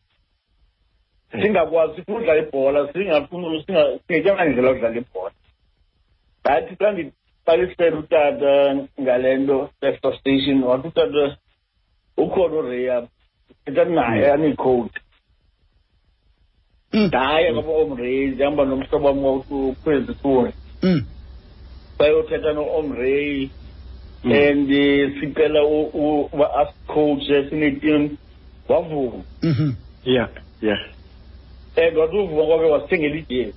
Speaker 4: singakwazi ukudlala ibhola singafuni singa- singetyanga ndlela udlala ibhola ndathi xa ndiqalisele utata ngale nto sefta station wathi utata ukhona ureya etha naye aniyikhowuti
Speaker 1: Mm.
Speaker 4: ndaya kwaba omreyi ndihamba nomhlobo wam waukhwezifuni
Speaker 1: Mm.
Speaker 4: bayothetha no-omray and eh, sicela u- u- uba asicoache sinetim wavuma
Speaker 1: Mhm.
Speaker 2: ya ya
Speaker 4: and wathi uvuma kwakhe wasithengela ijezi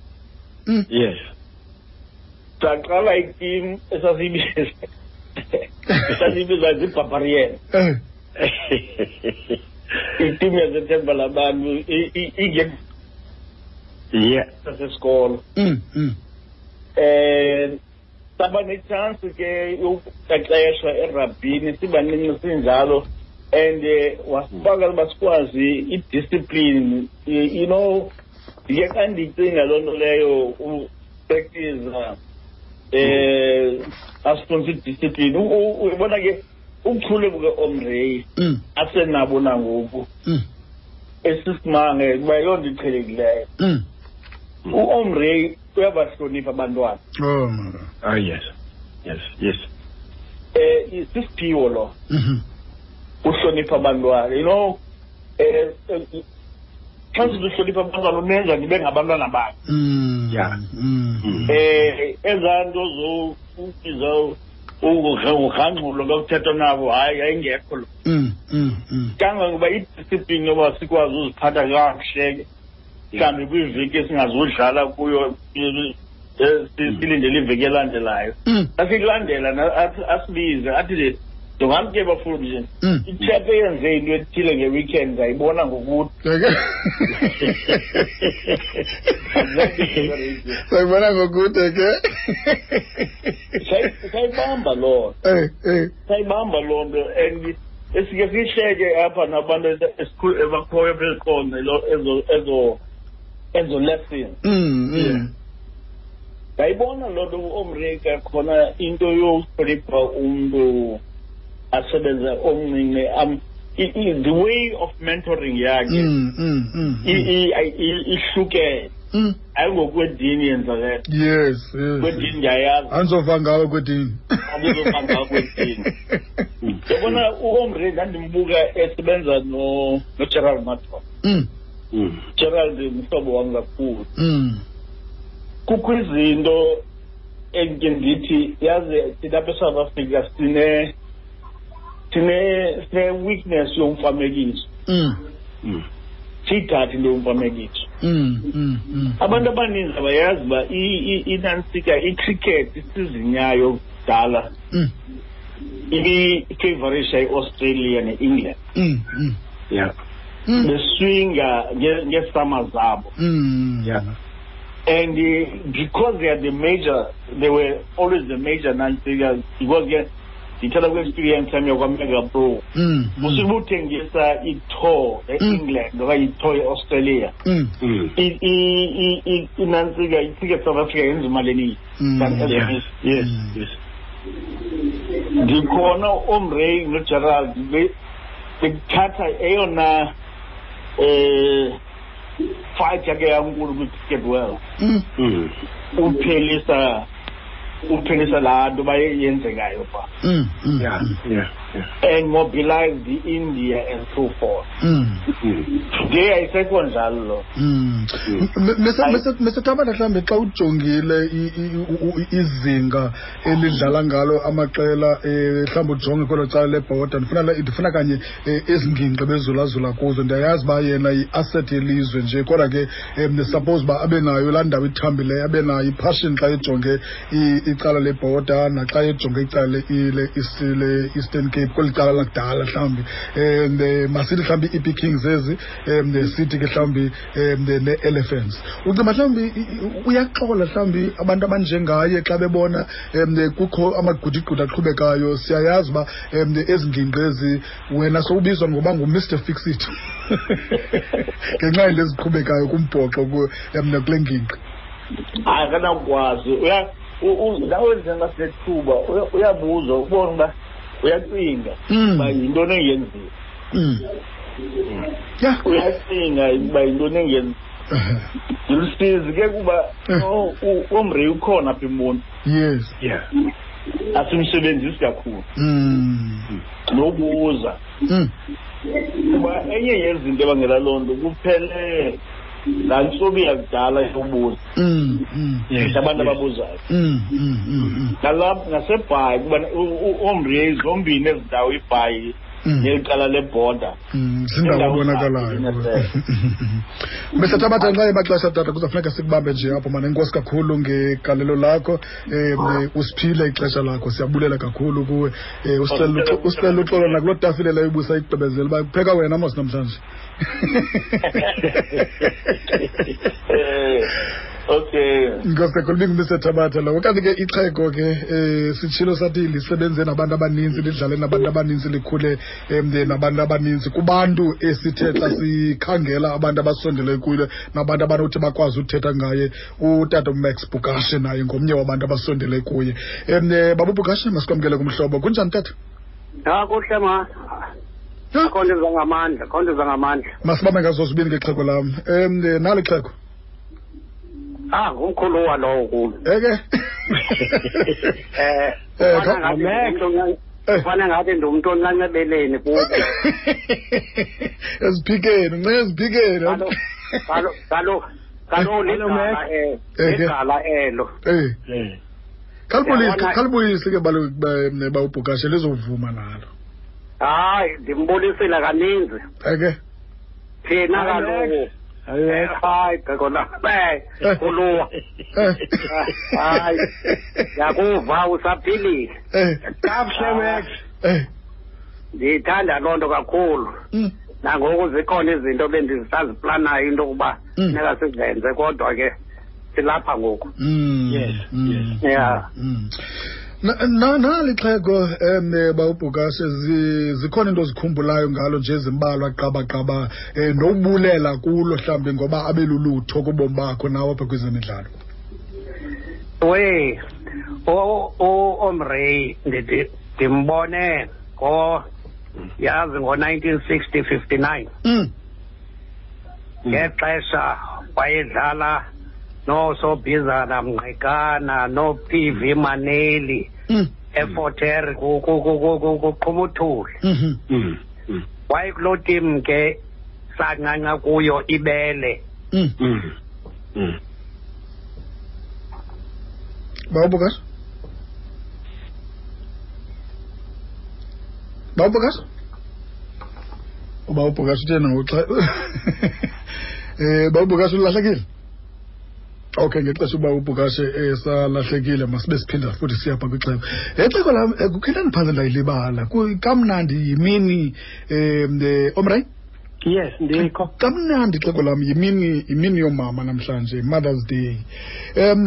Speaker 1: Mm.
Speaker 2: yes (laughs)
Speaker 4: saqala itim esasiyibiza esasiyibiza zibarbarian
Speaker 1: Eh.
Speaker 4: itim yazethemba labantu ingexasesikolo
Speaker 2: ya
Speaker 1: Mm. Mm.
Speaker 4: um saba netshansi ke yokuqeqeshwa erabhini sibancinci sinjalo and eh, wasifaka uba sikwazi idiscipline Eh, you know ndiye xa ndiyicinga loo nto leyo upractiza um asifunisa idiscipline U- u- uyibona ke ubuchule bukaomray
Speaker 1: Mm.
Speaker 4: asenabo nangoku
Speaker 1: Mm.
Speaker 4: esisimanga uba yoo nto iqhelekileyo
Speaker 1: Mm.
Speaker 4: uomray uyabahlonipha abantwana
Speaker 1: Oh my God.
Speaker 2: oh yes yes yes
Speaker 4: um sisiphiwo loo
Speaker 1: Mhm.
Speaker 4: uhlonipha abantwana you know eh, eh, xa sizihlonipha abantwana unenza ndibe ngabantwana bakhe
Speaker 1: Mm.
Speaker 2: Yeah.
Speaker 1: Mm.
Speaker 2: Mm.
Speaker 4: um ezaa nto zokubiza ugangxulo lokuthethwa nabo hayi yayingekho lo
Speaker 1: Mm. Mm. Mm.
Speaker 4: kangangoba idiscipline yoba sikwazi uziphatha kakuhle ke, mhlawumbi kwiveki esingazudlala kuyo eh, eh, si- silindele iveki elandelayo
Speaker 1: Mm.
Speaker 4: asilandela na- athi- asibize athi nje ndongamke bafundi nje
Speaker 1: Mm.
Speaker 4: itshephe eyenze into ethile nge-weekend ndayibona ngokuthi
Speaker 1: sayibona ngokude eh, ke
Speaker 4: Sayi- sayibamba loo nto
Speaker 1: Eh, eh.
Speaker 4: sayibamba loo nto and esike siyihleke apha nabantu esa- esikhul- ebakhoyo apha eziqonce lo- ezo- ezo- ezo lessons
Speaker 1: Mm, mm.
Speaker 4: um, ndayibona loo nto uomrika khona into yohlonipha umntu asebenze omncinci um i- i- the way of mentoring yakhe
Speaker 1: Mm, mm, mm,
Speaker 4: i-
Speaker 1: mm,
Speaker 4: i- i- i- ihlukene
Speaker 1: mm.
Speaker 4: hayi ngokwedini yenzakele
Speaker 1: yes
Speaker 4: kwedini
Speaker 1: yes
Speaker 4: ndiyayazi
Speaker 1: andizova ngawe kwedini
Speaker 4: Andizova ngawe
Speaker 1: (laughs)
Speaker 4: kwedini. yabona uomre ndandimbuka esebenza no- nogerald maton
Speaker 1: Mm,
Speaker 3: Mm.
Speaker 4: gerald mhlobo wam kakhulu
Speaker 1: mm.
Speaker 4: kukho izinto endike ndithi yaze thina apha esouth africa sine sine sine weakness yomfanekiso
Speaker 1: Mm,
Speaker 3: Mm.
Speaker 4: siyithathe into yomfanekiso
Speaker 1: mm, mm, mm.
Speaker 4: abantu abaninzi abayazi uba i- i- inantsika icricket isizini yayo kudala
Speaker 1: Mm,
Speaker 4: ibifavorisha iaustralia ne-england
Speaker 1: mm, mm,
Speaker 3: Yeah.
Speaker 1: mm,
Speaker 4: beswinga nge- ngeesama zabo
Speaker 1: mm.
Speaker 3: Yeah.
Speaker 4: and uh, because they are the major they were always the major nantsika because ke ndithatha kwi-experience yam yakwamega pro
Speaker 1: Mm, mm,
Speaker 4: musuke uthengisa itour e-england okanye itour e-australia
Speaker 1: mm,
Speaker 3: Mm.
Speaker 4: i- i- i- i- inantsika icricket south africa yenza imali eninzi
Speaker 1: mm.
Speaker 4: than
Speaker 3: Yeah.
Speaker 4: ever. yes
Speaker 1: Mm.
Speaker 4: yes ndikhona omray nogerald be- bekuthatha eyona um fight yake yankulu kwi-cricket world
Speaker 1: Mm,
Speaker 3: Mm.
Speaker 4: uphelisa uphelisa laa nto bayeyenzekayo pha
Speaker 1: mm, mm,
Speaker 3: Yeah. Yeah. Yeah.
Speaker 4: and mobilize i-india and so forth
Speaker 1: mm.
Speaker 3: Mm.
Speaker 4: today ayisekho njalo loo
Speaker 1: Mm.
Speaker 3: Mm.
Speaker 1: M- Mr.
Speaker 4: Hayi.
Speaker 1: Mr. Mr. Tabata mhlawumbi xa ujongile i- i- u- u- izinga elidlala ngalo amaqela eh, mhlawumbi ujonge kwelo cala lebhoda ndifuna le- ndifuna kanye eh, ezi ngingqi bezulazula kuzo ndiyayazi uba yena yiasset yelizwe nje kodwa ke eh, ndisuppose uba abe nayo laa ndawo ithambileyo abe nayo ipassion xa ejonge i- icala lebhoda naxa ejonge icala le- i- le- isi- le eastern cape kweli cala lakudala mhlawumbi um masithi mhlawumbi i-ep kings ezi um sithi ke mhlawumbi um ne-elephants ucinga mhlawumbi i- i- uyaxola mhlawumbi abantu abanjengaye xa bebona um kukho amagqudigqudi aqhubekayo siyayazi uba um ezi ngingqi ezi wena sowubizwa ngoba ngu-mr fixit (laughs) ngenxa yento eziqhubekayo kumbhoxo ku- em, nakule ngingqi
Speaker 4: akanakwazi Ah, uya u- u- nawe njengasethuba uya- uyabuza ubona uba uyacinga
Speaker 3: Hmm.
Speaker 1: Mm.
Speaker 4: uba yintoni engenziwa
Speaker 1: Mm. ya
Speaker 4: uyacinga uba yintoni engenziwa ndilusizi ke kuba
Speaker 3: Hmm.
Speaker 1: Eh.
Speaker 4: no, u- umre ukhona apha emboni
Speaker 1: (laughs) yes
Speaker 3: Yeah.
Speaker 4: asimsebenzisi kakhulu
Speaker 1: Mm.
Speaker 4: nobuza
Speaker 1: Mm.
Speaker 4: kuba enye yezinto ebangela loo nto kuphele laa ntsobi yakudala yobuza
Speaker 1: Mm. Mm.
Speaker 3: Yes.
Speaker 4: nabantu
Speaker 3: Yes.
Speaker 4: ababuzayo
Speaker 1: Mm. Mm. Mm.
Speaker 4: nalapha nasebhayi kuba umre zombini ezi ndawo ibhayi
Speaker 1: Mm.
Speaker 4: ngeqala lebhoda
Speaker 1: Mm, zindawo
Speaker 4: Indawo
Speaker 1: ebonakalayo
Speaker 4: zakhe,
Speaker 1: Mm. mr tabatha nxa yemaxesha tata kuzawufuneka sikubambe nje apho mane inkosi kakhulu ngegalelo lakho um usiphile ixesha lakho siyabulela kakhulu kuwe um
Speaker 4: Usicela-
Speaker 1: usicela uxolo nakulo tafile leyo ubusa igqibezela uba kupheka wena mos (laughs) namhlanje
Speaker 4: Eh, okay
Speaker 1: inkosi kakhulu bingumr tabatha lo okanye ke ixhego ke um sitshilo sathi lisebenze nabantu abaninzi lidlale nabantu abaninzi likhule um nabantu abaninzi kubantu esithe xa sikhangela abantu abasondele kuyo nabantu abanothi bakwazi uthetha ngaye utata umax bukashe naye ngomnye wabantu abasondele kuye um baba bukashe masikwamkele kumhlobo kunjani tata
Speaker 5: ha kuhle ma
Speaker 1: Ha,
Speaker 5: akho nto ezangamandla akho nto ezangamandla
Speaker 1: masibambe ngazo zibini ngexhego lam um nali xhego
Speaker 5: ha ngumkhulu walowo kulo
Speaker 1: (laughs) eke
Speaker 5: eh
Speaker 1: Eh,
Speaker 5: kufana
Speaker 1: kho-
Speaker 5: ngathi ndingumntu oncan-
Speaker 1: Eh.
Speaker 5: kufana ngathi ndingumntu oncancebeleni kubo
Speaker 1: (laughs) eziphikeni unce
Speaker 5: Kalo-
Speaker 1: eziphikeni
Speaker 5: kalo kalo kalo ligala eh
Speaker 1: Eh, ke.
Speaker 5: ligala elo
Speaker 1: Eh,
Speaker 3: Yeah.
Speaker 1: khalibuyise
Speaker 5: Yabona-
Speaker 1: khalibuyise ke balo- ba- ne- bawubhukashe lizovuma nalo
Speaker 5: hayi ndimbonisile kaninzi
Speaker 1: eke
Speaker 5: thina
Speaker 2: Hayi,
Speaker 5: kaloku
Speaker 2: Hayi,
Speaker 5: hayi gqekona
Speaker 1: Eh.
Speaker 5: kuluwa
Speaker 1: Eh. (laughs)
Speaker 5: hayi yakuva usaphilile
Speaker 1: Eh,
Speaker 2: kakuhle Max.
Speaker 1: eh,
Speaker 5: ndiyithanda loo nto kakhulu
Speaker 1: mm,
Speaker 5: nangoku zikhona izinto bendisaziplanayo into yokuba
Speaker 1: Mm.
Speaker 5: funeka sizenze kodwa ke silapha ngoku
Speaker 1: mm,
Speaker 3: Yes,
Speaker 1: mm,
Speaker 3: yes.
Speaker 5: Yeah.
Speaker 1: mm. Na- na- nali xhego um bawubhukashe zi- zikhona into ozikhumbulayo ngalo nje ezimbalwa qabaqaba um nobulela kulo mhlawumbi ngoba abe lulutho kubomi bakho nawe apha kwezemidlalo
Speaker 5: we uomrey ndimbone ngo yazi ngo-1960 59
Speaker 1: Mm.
Speaker 5: ngexesha wayedlala noosobhizana mngqekana noo-pv maneli
Speaker 1: Mm.
Speaker 5: eforter E ku- ku- ku- ku- ku- kuqhumuthule
Speaker 1: Mhm.
Speaker 5: wayekuloo tim ke sancanca kuyo ibele
Speaker 1: Mm. Bawubukas? Bawubukas? Ubawubukas uthena ngoxa (laughs) Eh bawubukas ulahlekile? Okay ngexesha uba ubhukashe esalahlekile masibe siphinda futhi siyapha kwixeko. Ixeko lam eh, kukhe ndandiphantse ndayilibala Ku- kamnandi yimini um omrayi
Speaker 2: yes ndikho
Speaker 1: kamnandi ixeko lam yimini yimini yoomama namhlanje mother's day um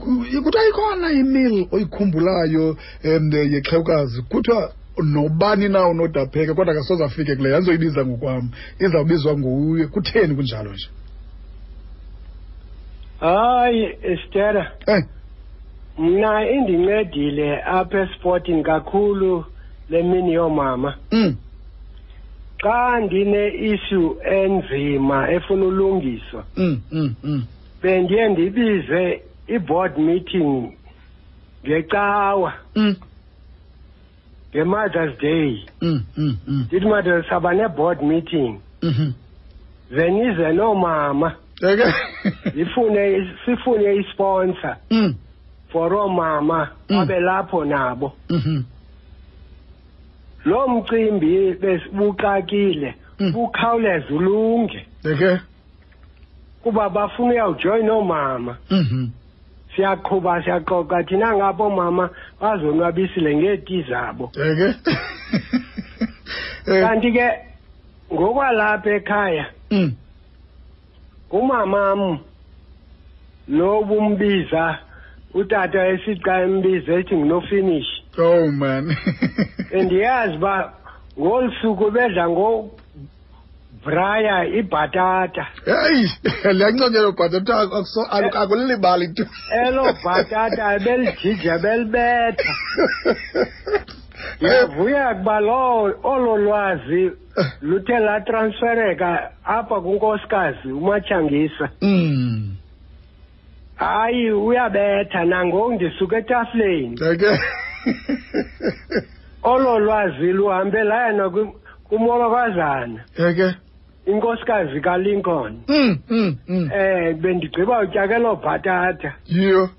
Speaker 1: kuthiwa ikhona imil oyikhumbulayo um yexhewukazi kuthiwa nobani na unodapheka kodwa kasoze afike kuleyo andizoyibiza ngokwam izawubizwa nguye kutheni kunjalo nje
Speaker 2: hayi estera
Speaker 1: Eh,
Speaker 2: mna indincedile apha esiportini kakhulu le mini yoomama
Speaker 1: mm,
Speaker 2: xa ndine-issue enzima efuna ulungiswa
Speaker 1: mm, mm, mm.
Speaker 2: bendiye ndibize i-board meeting ngecawa
Speaker 1: Mm,
Speaker 2: nge-mothers day
Speaker 1: mm, mm, mm,
Speaker 2: ndithi made saba ne-board meeting
Speaker 1: mhm.
Speaker 2: ze nize noomama
Speaker 1: Okay.
Speaker 2: sifune sifune isponsor
Speaker 1: Mm,
Speaker 2: for oomama
Speaker 1: Mm.
Speaker 2: babe lapho nabo
Speaker 1: mhm,
Speaker 2: lo mcimbi besibuxakile
Speaker 1: Mm.
Speaker 2: ukhawuleza ulunge
Speaker 1: okay.
Speaker 2: kuba bafuna uyawujoyina oomama
Speaker 1: Mhm,
Speaker 2: siyaqhuba siyaxoxa thina ngapho oomama bazonwabisile ngeeti zabo
Speaker 1: (laughs) okay. Eh,
Speaker 2: kanti ke ngokwalapha ekhaya
Speaker 1: mm,
Speaker 2: umamam lo bumbiza utata esica embiza ethi nginofinish
Speaker 1: Oh man.
Speaker 2: andiyazi uba ngolu suku bedla ngobraya ibhatata
Speaker 1: (laughs) Hey, liyanconjelwa bhatata kuthiwa akuso- alu- akulilibali tu.
Speaker 2: elo bhatata (laughs)
Speaker 1: (laughs)
Speaker 2: belijija belibetha
Speaker 1: Eh.
Speaker 2: ndiyavuya kuba loo olo lwazi luthe latransfereka apha kunkosikazi umatshangisa
Speaker 1: Mm.
Speaker 2: hayi uyabetha nangoku ndisuka etafleni
Speaker 1: (laughs) Okay.
Speaker 2: olo lwazi luhambe layana kwi- kumolokazana
Speaker 1: Okay.
Speaker 2: inkosikazi kalincoln
Speaker 1: Mm, mm, mm.
Speaker 2: eh bendigqiba utyakelo bhatata
Speaker 1: Yho.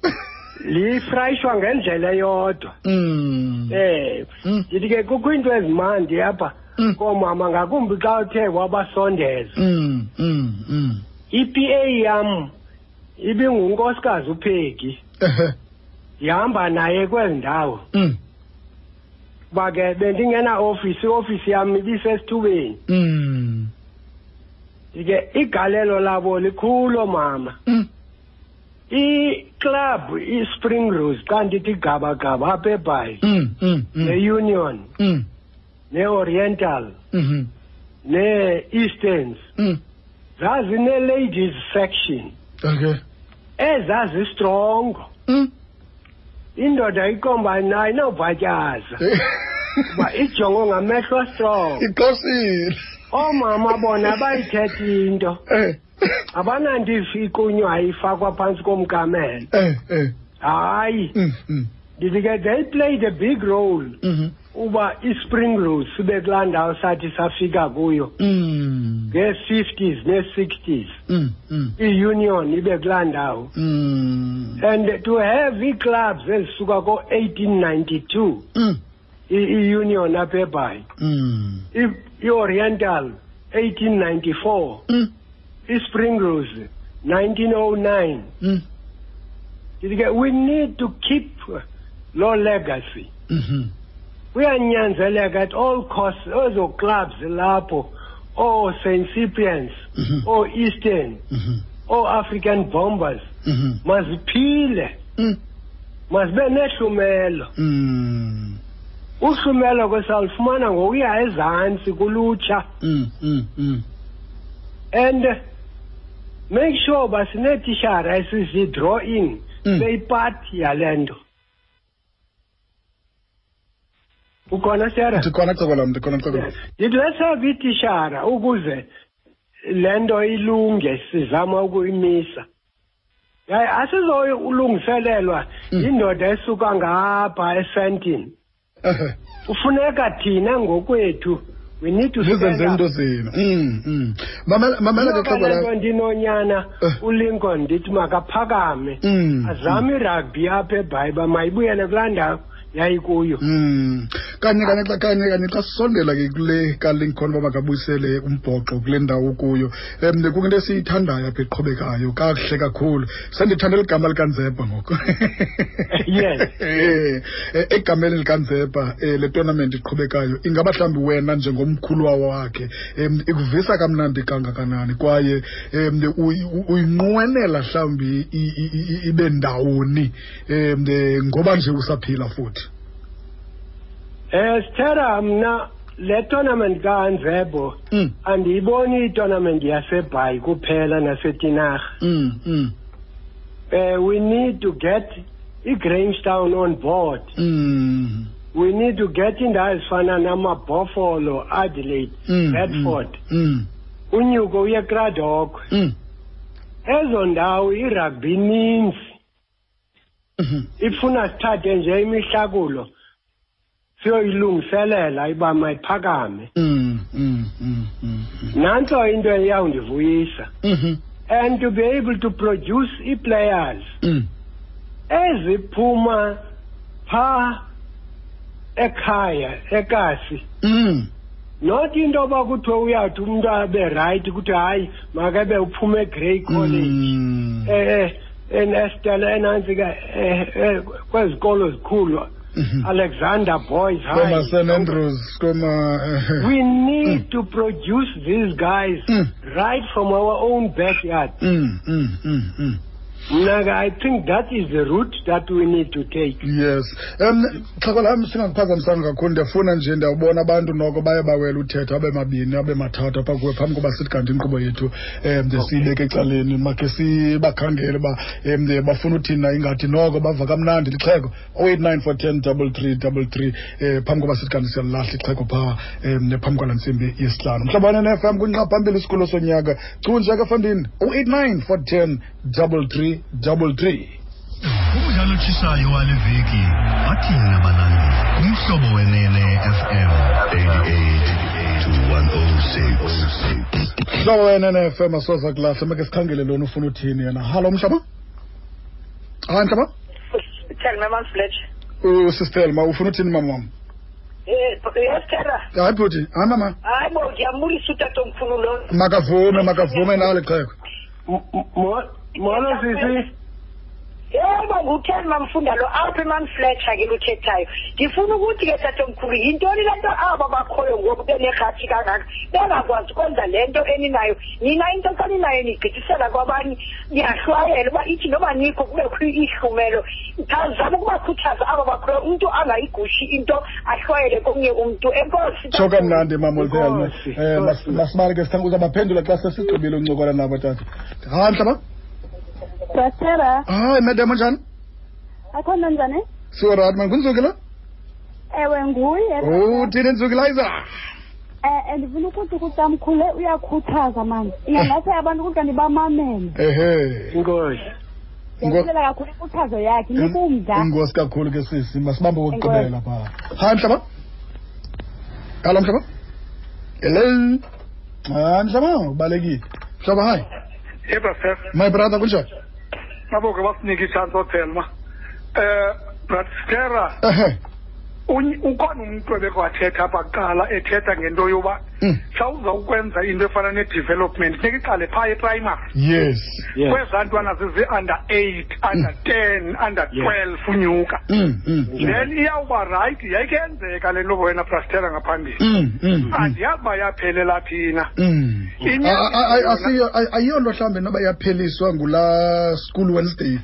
Speaker 2: lifrayishwa ngendlela eyodwa
Speaker 1: Mm.
Speaker 2: eh
Speaker 1: Mm.
Speaker 2: ndithi ke kukho into ezimandi apha
Speaker 1: Mm.
Speaker 2: koomama ngakumbi xa uthe wabasondeza
Speaker 1: Mm, mm, mm.
Speaker 2: i-pa yam ibingunkosikazi upheki
Speaker 1: Ehe.
Speaker 2: ndihamba naye kwezi ndawo
Speaker 1: Mm,
Speaker 2: kuba ke bendingena-ofisi iofisi yam ibisesithubeni
Speaker 1: mm,
Speaker 2: ndike igalelo labo likhulu mama
Speaker 1: mm.
Speaker 2: iklabhu ispring rose xa ndithi gabagaba apha ebhayi
Speaker 1: Mm, mm, mm.
Speaker 2: neunion
Speaker 1: Mm,
Speaker 2: neoriental
Speaker 1: mhm.
Speaker 2: nee-easterns
Speaker 1: Mm.
Speaker 2: zazineladies section
Speaker 1: Okay.
Speaker 2: ezazistrongo
Speaker 1: Mm.
Speaker 2: indoda ikombani ayinobhatyaza
Speaker 1: Eh.
Speaker 2: uba ijongo ngamehlo
Speaker 1: (laughs)
Speaker 2: astrongo
Speaker 1: Iqosile.
Speaker 2: oomama bona bayithetha into
Speaker 1: Eh.
Speaker 2: abanandifikunywa ifakwa phantsi komkamelo
Speaker 1: Eh, eh.
Speaker 2: hayi
Speaker 1: Mm, mm.
Speaker 2: ndithi ke they played a big role
Speaker 1: Mhm.
Speaker 2: uba ispring rose sibe kulaa ndawo sathi safika kuyo
Speaker 1: Mm.
Speaker 2: ngee-fifties nee-sixties
Speaker 1: Mm, mm.
Speaker 2: iunion ibe kulaa ndawo
Speaker 1: Mm.
Speaker 2: and to have ii-clubs ezisuka ko-1892
Speaker 1: Mm.
Speaker 2: i-union apha ebhayi
Speaker 1: Mm.
Speaker 2: i- i-oriental 1894
Speaker 1: Mm.
Speaker 2: ispring rose 1909
Speaker 1: Mm.
Speaker 2: ndithi ke we need to keep loo legacy
Speaker 1: Mhm.
Speaker 2: kuyanyanzeleka at all costs ezo clubs lapho oo-st cyprians
Speaker 1: Mhm.
Speaker 2: oo-eastern
Speaker 1: Mhm.
Speaker 2: oo-african bombers
Speaker 1: Mhm.
Speaker 2: maziphile
Speaker 1: Mm.
Speaker 2: mazibe nehlumelo
Speaker 1: Mm.
Speaker 2: uhlumelo kwesalufumana ngokuya ezantsi kulutsha
Speaker 1: Mm. Mm. Mm.
Speaker 2: and eh, make sure uba sineetishara esizidrawing
Speaker 1: Mm.
Speaker 2: beyipati yale nto ukhona sera
Speaker 1: ndikhona cekolam ndikhona cekolam
Speaker 2: ndithi weseva itishara ukuze le nto ilunge sizama ukuyimisa yaye asizoulungiselelwa
Speaker 1: Mm.
Speaker 2: yindoda esuka ngapha esentini
Speaker 1: Ehe.
Speaker 2: kufuneka thina ngokwethu we need to stand
Speaker 1: nizenze
Speaker 2: up.
Speaker 1: into zenu Mm, mm. mamela mamela ke
Speaker 2: Ngoba le nto
Speaker 1: xekolam
Speaker 2: ndinonyana
Speaker 1: Eh.
Speaker 2: ulincoln ndithi makaphakame
Speaker 1: Mm,
Speaker 2: azame irugby apha ebhayiba mayibuyele kulaa ndawo yayikuyo
Speaker 1: Mm. Kanye kanye xa kanye kanye xa sisondela ke kule kaLincoln uba makabuyisele umbhoxo kule ndawo kuyo. Em kukho into esiyithandayo apha eqhubekayo kakuhle kakhulu. Sendithandela igama likaNzepha ngoku.
Speaker 2: Yes.
Speaker 1: (laughs) Eh, eh, Egameni likaNzepha eh, le tournament iqhubekayo ingaba mhlawumbi wena njengomkhulu wawo wakhe em ikuvisa kamnandi kangakanani kwaye em uyi- u- uyinqwenela mhlawumbi i- i- i- ibe ndawoni em eh, ngoba nje usaphila futhi.
Speaker 2: um sithera mna le tournament kaanzebo
Speaker 1: Mm.
Speaker 2: andiyiboni itournament yasebhayi kuphela nasetinarha
Speaker 1: Mm, mm,
Speaker 2: um we need to get igramestown on board
Speaker 1: mm,
Speaker 2: we need to get iindawo ezifana namabhofolo adelaide
Speaker 1: mm,
Speaker 2: bedford
Speaker 1: mm,
Speaker 2: unyuko uye kradokwe
Speaker 1: mm,
Speaker 2: ezo ndawo irugby ininzi
Speaker 1: mhm.
Speaker 2: ifuna sithathe nje imihlakulo siyoyilungiselela iba mayiphakame
Speaker 1: Mm, mm, mm, mm, mm.
Speaker 2: nantso into eyawundivuyisa
Speaker 1: Mhm,
Speaker 2: and to be able to produce ii-players
Speaker 1: mm.
Speaker 2: eziphuma phaa ekhaya ekasi
Speaker 1: Mm,
Speaker 2: not into yoba kuthiwe uyawuthi umntu abe rayithi kuthi hayi makebe uphume egrey college
Speaker 1: mm,
Speaker 2: eh enestela enantsi ke eh, eh, kwezikolo zikhulu
Speaker 1: mhm.
Speaker 2: alexander boys
Speaker 1: Koma San
Speaker 2: High.
Speaker 1: Andrews, koma, eh,
Speaker 2: We need to produce these guys
Speaker 1: Mm.
Speaker 2: right from our own backyard.
Speaker 1: mm, mm, mm, mm.
Speaker 2: Naga, I think that is the route that we need to take.
Speaker 1: yes um xhaka lam singakuphazamisanga kakhulu ndiyafuna nje ndiyawubona abantu noko baye bawela uthetha abe mabini abe mathathu apha kuwe phambi koba sithi kanti inkqubo yethu um nde siyibeke ecaleni makhe sibakhangele uba um nde bafuna uthini na ingathi noko bava kamnandi lixheko o-eight nine four ten double three double three um phambi koba sithi kanti siyalilahla ixheko phaa um nephambi kwala ntsimbi yesihlanu mhlabane ne-fm kwinqa phambili isikolo sonyaka chunje ke fandini o-eight nine four ten double three double three
Speaker 6: umdlalo otshisayo wale veki athina balandeli kumhlobo wenene fm 88 to 106
Speaker 1: mhlobo wenenefm asoza kulahla make sikhangele lona ufuna uthini yena hallo mhlaba hayi mhlaba
Speaker 7: Tell me, man, Fletch.
Speaker 1: usistelma ufuna uthini mama wam
Speaker 7: Eh, yes, Ah, Tara.
Speaker 1: hayi bhuti hayi mama
Speaker 7: Hayi bo, ndiyambulisa utatomkhulu lo.
Speaker 1: makavume makavume nalo xheko
Speaker 2: M- m- mo- Molo sisi,
Speaker 7: Yebo, ngutheni mamfunda lo apha man Fletcher ke luthethayo. Ngifuna ukuthi ke tatomkhulu yintoni le nto aba bakhoyo ngoku benerhathi kangaka bengakwazi ukwenza le e nto eninayo. Nina into kaninayo nigqithisela kwabanye niyahlwayela uba ithi noba nikho kubekho ihlumelo. Khazama ukubakhuthaza aba bakhoyo umntu angayigushi into ahlwayele komnye umntu. Enkosi.
Speaker 1: tsho kamnandi mama olithelma
Speaker 2: Nkosi,
Speaker 1: um mas-
Speaker 2: nkosi.
Speaker 1: masibale ke sithanga uzabaphendula xa sesigqibile uncokola nabo tata hayi mhlaba
Speaker 8: Dotera,
Speaker 1: hayi madam onjani
Speaker 8: akhona njani?
Speaker 1: siworat man kuntsuki la
Speaker 8: Ewe nguye.
Speaker 1: uthini ntsuki layiza
Speaker 8: Eh eh, ndifuna ukuthi kutamkhule uyakhuthaza manje. Ingase abantu ukuthi ndibamamele.
Speaker 1: ehe
Speaker 2: inkosi.
Speaker 1: Ngo-
Speaker 8: Ndiyakulela kakhulu inkuthazo yakhe nikumda.
Speaker 1: inkosi kakhulu ke sisi masibambe kokugqibela phaa hayi mhlaba hallo mhlaba hello hayi mhlaba ubalekile mhlaba hayi
Speaker 9: Yebo sir,
Speaker 1: my brother kunjani
Speaker 9: naboke basinike i-chance othelma. Eh Bratskera,
Speaker 1: ehe
Speaker 9: ukhona umuntu obekwathetha apha kuqala ethetha ngento yoba
Speaker 1: Mm.
Speaker 9: xa uzawukwenza into efana ne-development funeka iqale phaa eprimary
Speaker 1: yes
Speaker 2: Yes.
Speaker 9: kwezaa ntwana zizi-under eight under ten under
Speaker 2: Yeah.
Speaker 9: twelve unyuka
Speaker 1: Mm, mm,
Speaker 9: then iyawuba rayithi yayikenzeka le nto wena Bratskera ngaphambili
Speaker 1: mm, mm, mm.
Speaker 9: andiyazi uba yaphelela phina
Speaker 1: Mm.
Speaker 9: Inyani
Speaker 1: A- a- a-
Speaker 9: yona.
Speaker 1: asiyo- a- ayiyo nto mhlawumbi noba yapheliswa ngulaa school wednesday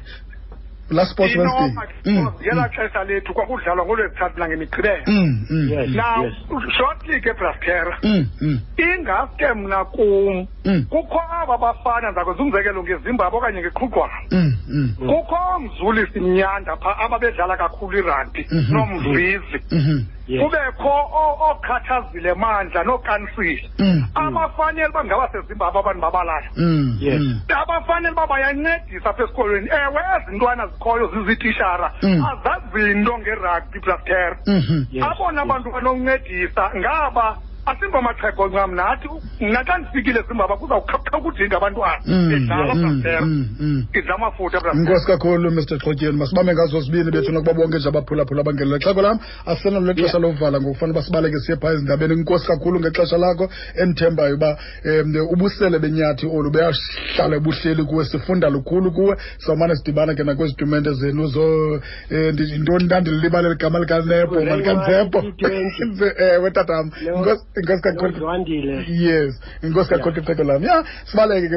Speaker 1: ngulaa sports wednesday
Speaker 9: inoma
Speaker 1: Mm,
Speaker 9: yela xesha lethu kwakudlalwa ngolwebuthathu nangemigqibelo
Speaker 1: mm, mm,
Speaker 2: Yes.
Speaker 9: now shortly ke Bratskera
Speaker 1: mm, mm,
Speaker 9: ingaske mna kum
Speaker 1: mm,
Speaker 9: kukho aba bafana ndakwenza umzekelo ngezimbabwe okanye ngeqhugwana
Speaker 1: mm, mm,
Speaker 9: kukho mzuli sinyanda phaa ababedlala kakhulu irandi
Speaker 1: Mhm.
Speaker 9: nomvizi
Speaker 1: mhm.
Speaker 3: Yes.
Speaker 9: kubekho o- ookhathazile mandla nookansile
Speaker 1: Mm,
Speaker 9: abafanele uba ngabasezimbabwe abantu babalayo
Speaker 1: mm,
Speaker 3: Yes.
Speaker 1: mm.
Speaker 9: abafanele uba bayancedisa apha esikolweni ewe ezintwana zikhoyo zizitishara
Speaker 1: Mm.
Speaker 9: azazinto ngerugby plaster
Speaker 1: Mhm.
Speaker 3: Yes.
Speaker 9: abona bantu banoncedisa ngaba asimbomaxhego ncam nathi mna xa ndifikile zimbabwe kuzawukhapha ukudinga abantwana
Speaker 1: Mm,
Speaker 9: bedlala
Speaker 1: mm,
Speaker 9: plaster
Speaker 1: mm, mm.
Speaker 9: idla amafutha plaster
Speaker 1: Inkosi kakhulu Mr Xhotyeni masibambe ngazo sibini bethu nokuba bonke nje abaphulaphula abangenela xhego lam asenalo lexesha lokuvala ngokufanele uba sibaleke siye phaa ezindabeni inkosi kakhulu ngexesha lakho endithembayo uba um ubusele benyathi olu beyahlala buhleli kuwe sifunda lukhulu kuwe sawumane sidibana ke nakwezitumente zenu zo eh, ndi- yintoni ndandililibale ligama likanebo malikanzebo (laughs)
Speaker 2: T20.
Speaker 1: ewe tatam
Speaker 2: Lo-
Speaker 1: Inkosi- inkosi kakhulu
Speaker 2: Lozwandile.
Speaker 1: yes inkosi kakhulu xhego lam ya sibaleke ke